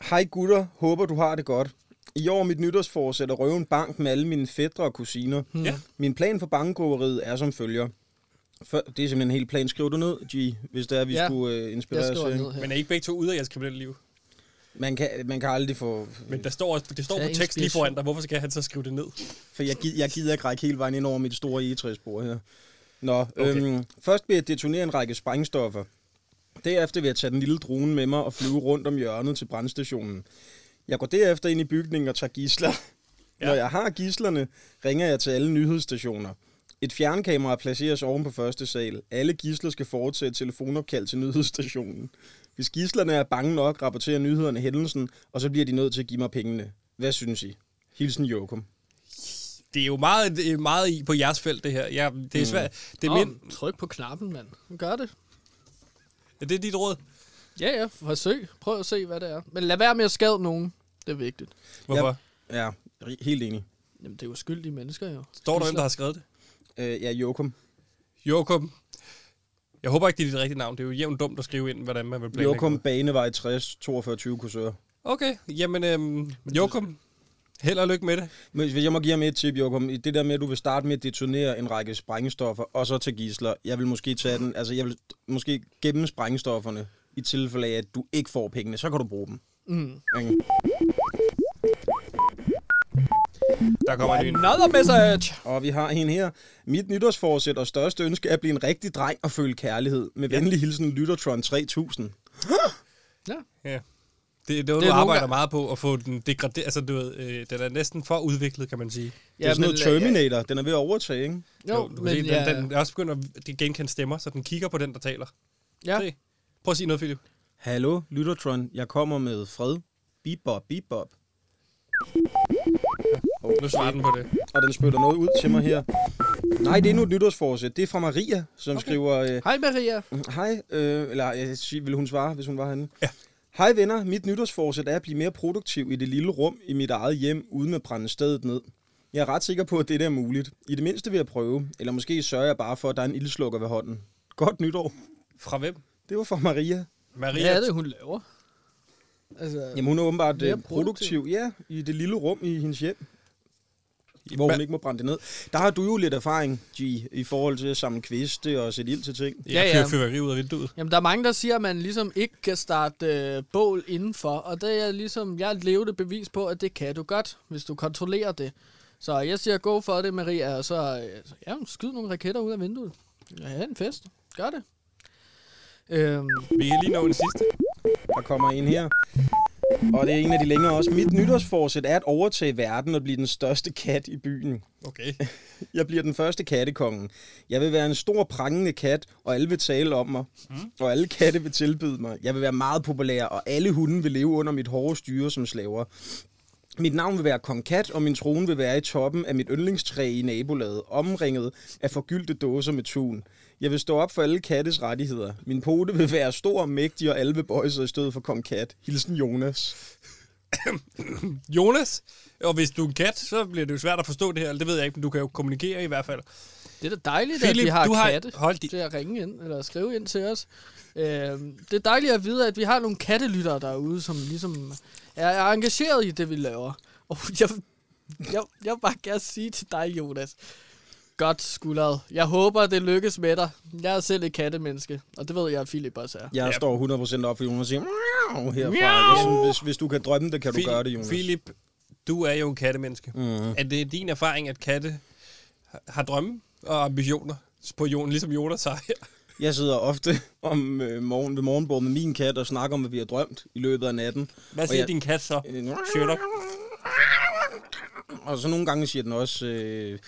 [SPEAKER 3] Hej gutter, håber du har det godt. I år er mit nytårsforsæt at røve en bank med alle mine fædre og kusiner. Hmm.
[SPEAKER 1] Ja.
[SPEAKER 3] Min plan for bankrøveriet er som følger. For, det er simpelthen en hel plan. Skriv du ned, G, hvis det er, vi
[SPEAKER 2] Ja,
[SPEAKER 3] ja. skulle øh,
[SPEAKER 2] Jeg
[SPEAKER 3] inspirere os.
[SPEAKER 2] skriver
[SPEAKER 3] til.
[SPEAKER 2] ned her.
[SPEAKER 1] Men er I ikke begge to ude af jeres kriminelle liv?
[SPEAKER 3] Man kan, man kan aldrig få...
[SPEAKER 1] Men der står, også, det står
[SPEAKER 2] Der er
[SPEAKER 1] på tekst lige
[SPEAKER 2] inspiration.
[SPEAKER 1] foran dig. Hvorfor skal han så skrive det ned?
[SPEAKER 3] For jeg, gid, jeg gider ikke række hele vejen ind over mit store egetræsbord her. Nå,
[SPEAKER 1] Okay.
[SPEAKER 3] okay. øhm, først vil jeg detonere en række sprængstoffer. Derefter vil jeg tage den lille drone med mig og flyve rundt om hjørnet til brandstationen. Jeg går derefter ind i bygningen og tager gisler.
[SPEAKER 1] Ja.
[SPEAKER 3] Ja. Når jeg har gislerne, ringer jeg til alle nyhedsstationer. Et fjernkamera placeres oven på første sal. Alle gisler skal foretage et telefonopkald til nyhedsstationen. Hvis gislerne er bange nok, rapporterer nyhederne hændelsen, og så bliver de nødt til at give mig pengene. Hvad synes I? Hilsen Jokum.
[SPEAKER 1] Det er jo meget, det er meget i på jeres felt, det her. Ja, det er svært. Det er,
[SPEAKER 2] Nå,
[SPEAKER 1] min,
[SPEAKER 2] Tryk på knappen, mand. Gør det.
[SPEAKER 1] er det dit råd?
[SPEAKER 2] Ja, ja. Forsøg. Prøv at se, hvad det er. Men lad være med at skade nogen. Det er vigtigt.
[SPEAKER 1] Hvorfor?
[SPEAKER 3] Ja. Ja, ri- helt enig.
[SPEAKER 2] Jamen, det er jo skyldige mennesker, jo.
[SPEAKER 1] Står der, hvem der har skrevet det?
[SPEAKER 3] Øh, ja, Jokum.
[SPEAKER 1] Jokum. Jeg håber ikke, det er dit rigtige navn. Det er jo jævnt dumt at skrive ind, hvordan man vil planlægge.
[SPEAKER 3] Jokum
[SPEAKER 1] noget.
[SPEAKER 3] Banevej 60, 42 kursør.
[SPEAKER 1] Okay, jamen øhm, Jokum. Held og lykke med det.
[SPEAKER 3] Men hvis jeg må give ham et tip, Jokum, i det der med, at du vil starte med at detonere en række sprængstoffer, og så tage gisler, jeg vil måske tage den, altså jeg vil måske gemme sprængstofferne, i tilfælde af, at du ikke får pengene, så kan du bruge dem.
[SPEAKER 2] Mm.
[SPEAKER 3] Okay.
[SPEAKER 1] Der kommer en ny.
[SPEAKER 2] Another message!
[SPEAKER 3] Og vi har en her. Mit nytårsforsæt og største ønske er at blive en rigtig dreng og føle kærlighed. Med venlig hilsen, Lyttertron 3000.
[SPEAKER 1] Ja. Det, det er noget,
[SPEAKER 2] Det er
[SPEAKER 1] du
[SPEAKER 2] nogle
[SPEAKER 1] arbejder
[SPEAKER 2] gange-
[SPEAKER 1] meget på at få den degraderet. Altså, du ved, øh, den er næsten for udviklet, kan man sige.
[SPEAKER 3] Det er sådan noget Terminator, den er ved at overtage, ikke?
[SPEAKER 2] øh, Ja,
[SPEAKER 1] du
[SPEAKER 2] jo, men
[SPEAKER 1] men se,
[SPEAKER 2] ja,
[SPEAKER 1] den, den er også begyndt at det genkende stemmer, så den kigger på den, der taler.
[SPEAKER 2] ja,
[SPEAKER 1] Se. Prøv at sige noget, Philip.
[SPEAKER 3] Hallo, Lyttertron, jeg kommer med fred. Bebop, bebop.
[SPEAKER 1] Nu svarer den på det.
[SPEAKER 3] og den spytter noget ud til mig her. Nej, det er endnu et nytårsforsæt. Det er fra Maria, som okay. skriver... Øh,
[SPEAKER 2] Hej Maria.
[SPEAKER 3] Hej, øh, eller jeg siger, vil hun svare, hvis hun var herinde? Ja. Hej venner, mit nytårsforsæt er at blive mere produktiv i det lille rum i mit eget hjem, uden at brænde stedet ned. Jeg er ret sikker på, at det er muligt. I det mindste vil jeg prøve, eller måske sørger jeg bare for, at der er en ildslukker ved hånden. Godt nytår.
[SPEAKER 1] Fra hvem?
[SPEAKER 3] Det var fra Maria.
[SPEAKER 1] Maria.
[SPEAKER 2] Hvad er det, hun laver? Altså,
[SPEAKER 3] Jamen hun er åbenbart
[SPEAKER 2] Mere
[SPEAKER 3] øh, produktiv, ja, i det lille rum i hendes hjem. Hvor hun
[SPEAKER 1] Hva-
[SPEAKER 3] ikke må brænde det ned. Der har du jo lidt erfaring, G, i forhold til at samle kviste og sætte ild til ting.
[SPEAKER 1] Jeg
[SPEAKER 2] Ja,
[SPEAKER 1] fyrer
[SPEAKER 2] ja.
[SPEAKER 1] fyrværkeri ud af vinduet.
[SPEAKER 2] jamen, der er mange, der siger, at man ligesom ikke kan starte øh, bål indenfor, og det er ligesom, jeg er et levende bevis på, at det kan du godt, hvis du kontrollerer det. Så jeg siger, gå for det, Maria, og så øh, så, ja, skyd nogle raketter ud af vinduet. Ja, en fest. Gør det. Øhm,
[SPEAKER 1] Vi kan lige nå den sidste.
[SPEAKER 3] Der kommer en her. Og det er en af de længere også. Mit nytårsforsæt er at overtage verden og blive den største kat i byen.
[SPEAKER 1] Okay.
[SPEAKER 3] Jeg bliver den første kattekongen. Jeg vil være en stor prangende kat, og alle vil tale om mig. Mm. Og alle katte vil tilbyde mig. Jeg vil være meget populær, og alle hunde vil leve under mit hårde styre som slaver. Mit navn vil være Kong Kat, og min trone vil være i toppen af mit yndlingstræ i nabolaget, omringet af forgyldte dåser med tun. Jeg vil stå op for alle kattes rettigheder. Min pote vil være stor og mægtig, og alle vil bøje sig i stedet for Kong Kat. Hilsen Jonas.
[SPEAKER 1] Jonas, og hvis du er en kat, så bliver det jo svært at forstå det her. Det ved jeg ikke, men du kan jo kommunikere i hvert fald.
[SPEAKER 2] Det er da dejligt,
[SPEAKER 1] Philip,
[SPEAKER 2] at vi har
[SPEAKER 1] du har-
[SPEAKER 2] katte
[SPEAKER 1] hold din-
[SPEAKER 2] til at ringe ind eller skrive ind til os. Øhm, det er dejligt at vide, at vi har nogle kattelyttere derude, som ligesom er, er engageret i det, vi laver. Og jeg, jeg, jeg vil bare gerne sige til dig, Jonas. Godt skuldret. Jeg håber, det lykkes med dig. Jeg er selv et kattemenneske, og det ved jeg, at Philip også er.
[SPEAKER 3] Jeg står 100% op for Jonas og siger, "Miau" herfra. Jeg synes, hvis, hvis du kan drømme det, kan du gøre det, Jonas.
[SPEAKER 1] Philip, du er jo en kattemenneske. Mm. Er det din erfaring, at katte har- har drømme og ambitioner på jorden, ligesom Jonas har her?
[SPEAKER 3] Jeg sidder ofte om øh, morgen ved morgenbordet med min kat og snakker om, hvad vi har drømt i løbet af natten.
[SPEAKER 1] Hvad
[SPEAKER 3] Og
[SPEAKER 1] siger
[SPEAKER 3] jeg-
[SPEAKER 1] din kat så?
[SPEAKER 3] Øh,
[SPEAKER 1] Sherlock?
[SPEAKER 3] Og så nogle gange siger den også, øh,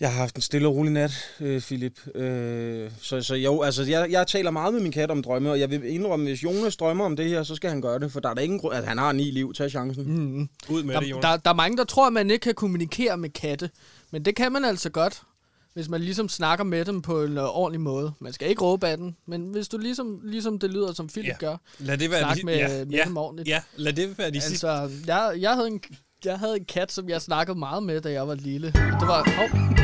[SPEAKER 3] jeg har haft en stille og rolig nat, øh, Philip. Øh, så, så jo, altså jeg, jeg taler meget med min kat om drømme, og jeg vil indrømme, hvis Jonas drømmer om det her, så skal han gøre det, for der er da ingen grund, at han har ni liv, tag chancen. Mm.
[SPEAKER 1] Ud med det,
[SPEAKER 2] Der,
[SPEAKER 1] Jonas.
[SPEAKER 2] der, der er mange, der tror, at man ikke kan kommunikere med katte. Men det kan man altså godt, hvis man ligesom snakker med dem på en øh, ordentlig måde. Man skal ikke råbe af den, men hvis du ligesom, ligesom det lyder, som Philip
[SPEAKER 1] Ja.
[SPEAKER 2] ja. gør.
[SPEAKER 1] Lad det være
[SPEAKER 2] Snak
[SPEAKER 1] de,
[SPEAKER 2] med-
[SPEAKER 1] ja,
[SPEAKER 2] med
[SPEAKER 1] ja,
[SPEAKER 2] dem ordentligt.
[SPEAKER 1] ja, lad det være de altså, sidste.
[SPEAKER 2] Altså, jeg, jeg, havde en, jeg havde en kat, som jeg snakkede meget med, da jeg var lille. Det var... Hov,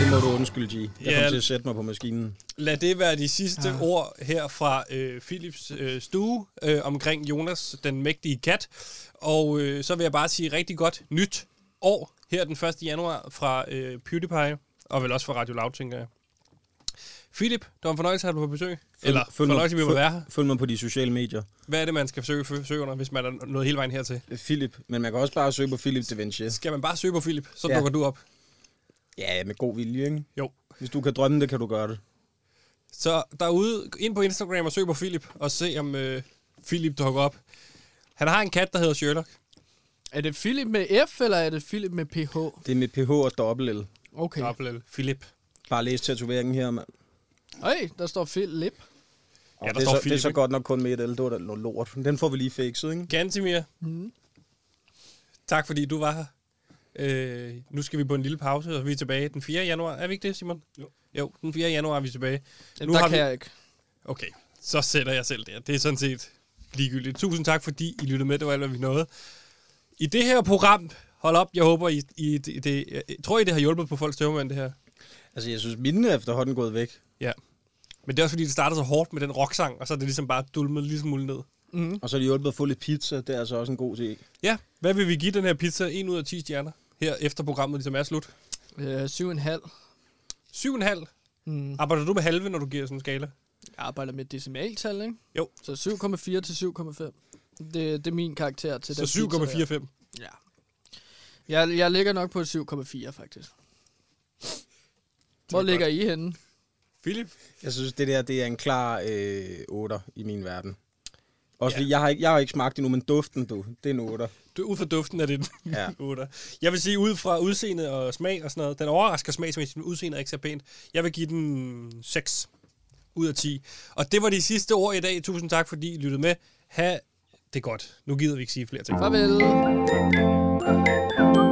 [SPEAKER 3] Det må du undskylde, G. Jeg kom
[SPEAKER 1] Ja.
[SPEAKER 3] til at sætte mig på maskinen.
[SPEAKER 1] Lad det være de sidste ja. ord her fra øh, Philips øh, stue øh, omkring Jonas, den mægtige kat. Og øh, så vil jeg bare sige rigtig godt nyt år her den 1. januar fra øh, PewDiePie, og vel også fra Radio Loud, tænker jeg. Philip, det var en fornøjelse at have dig på besøg. Eller
[SPEAKER 3] mig-
[SPEAKER 1] fornøjelse, vi må
[SPEAKER 3] følg-
[SPEAKER 1] være her.
[SPEAKER 3] Følg mig på de sociale medier.
[SPEAKER 1] Hvad er det, man skal søge, søge under, hvis man er nået hele vejen hertil?
[SPEAKER 3] Philip, men man kan også bare søge på Philip Da Vinci.
[SPEAKER 1] Skal man bare søge på Philip, så ja.
[SPEAKER 3] Ja.
[SPEAKER 1] dukker du op.
[SPEAKER 3] Ja, med god vilje, ikke?
[SPEAKER 1] Jo.
[SPEAKER 3] Hvis du kan drømme det, kan du gøre det.
[SPEAKER 1] Så derude, gå ind på Instagram og søg på Philip, og se om øh, Philip dukker op. Han har en kat, der hedder Sherlock.
[SPEAKER 2] er det Philip med F, eller er det Philip med PH?
[SPEAKER 3] Det er med pH og dobbelt L.
[SPEAKER 2] Okay.
[SPEAKER 1] Dobbelt L. Philip.
[SPEAKER 3] Bare læs tatoveringen her, mand.
[SPEAKER 2] Øj, der står Philip.
[SPEAKER 3] Ja,
[SPEAKER 1] der
[SPEAKER 3] det, er
[SPEAKER 1] står
[SPEAKER 3] så, det er
[SPEAKER 1] Philip,
[SPEAKER 3] så
[SPEAKER 1] ikke?
[SPEAKER 3] godt nok kun med et L. Det var da noget lort. Den får vi lige fikset, ikke?
[SPEAKER 1] Gantimir. Mm. Tak fordi du var her. Øh, nu skal vi på en lille pause, og vi er tilbage den 4. januar. Er vi ikke det, Simon? Jo. Jo, den 4. januar er vi tilbage.
[SPEAKER 2] Jamen, der
[SPEAKER 1] har
[SPEAKER 2] kan
[SPEAKER 1] vi-
[SPEAKER 2] jeg ikke.
[SPEAKER 1] Okay, så sætter jeg selv der. Det er sådan set ligegyldigt. Tusind tak, fordi I lyttede med. Det var alt, hvad vi nåede. I det her program, hold op, jeg håber, I, I det, det, jeg tror I, det har hjulpet på folks tøvmand, det her?
[SPEAKER 3] Altså, jeg synes, mine er efterhånden gået væk.
[SPEAKER 1] Ja. Men det er også, fordi det startede så hårdt med den rocksang, og så er det ligesom bare dulmet lige smule ned.
[SPEAKER 3] Og så har de hjulpet at få lidt pizza. Det er altså også en god ting.
[SPEAKER 1] Ja, hvad vil vi give den her pizza? 1 ud af 10 stjerner. Her efter programmet ligesom er slut.
[SPEAKER 2] Øh, syv og en halv.
[SPEAKER 1] 7,5.
[SPEAKER 2] Mm.
[SPEAKER 1] Arbejder du med halve, når du giver sådan en skala?
[SPEAKER 2] Jeg arbejder med decimaltal, ikke?
[SPEAKER 1] Jo.
[SPEAKER 2] Så 7,4 til 7,5. Det, det er min karakter til
[SPEAKER 1] Så
[SPEAKER 2] den pizza der.
[SPEAKER 1] 7,45.
[SPEAKER 2] Ja. Jeg, jeg ligger nok på 7,4 faktisk. Hvor ligger I henne?
[SPEAKER 1] Philip?
[SPEAKER 3] Jeg synes, det der det er en klar øh, 8 i min verden. Også fordi, jeg har, ikke, jeg har ikke smagt det nu, men duften, du, det er en 8.
[SPEAKER 1] Du, ud fra duften er det en
[SPEAKER 3] Ja.
[SPEAKER 1] 8. Jeg vil sige, ud fra udseende og smag og sådan noget, den overrasker smagsmæssigt, men udseendet er ikke så pænt. Jeg vil give den 6 ud af 10. Og det var de sidste ord i dag. Tusind tak, fordi I lyttede med. Ha' det godt. Nu gider vi ikke sige flere ting.
[SPEAKER 2] Farvel.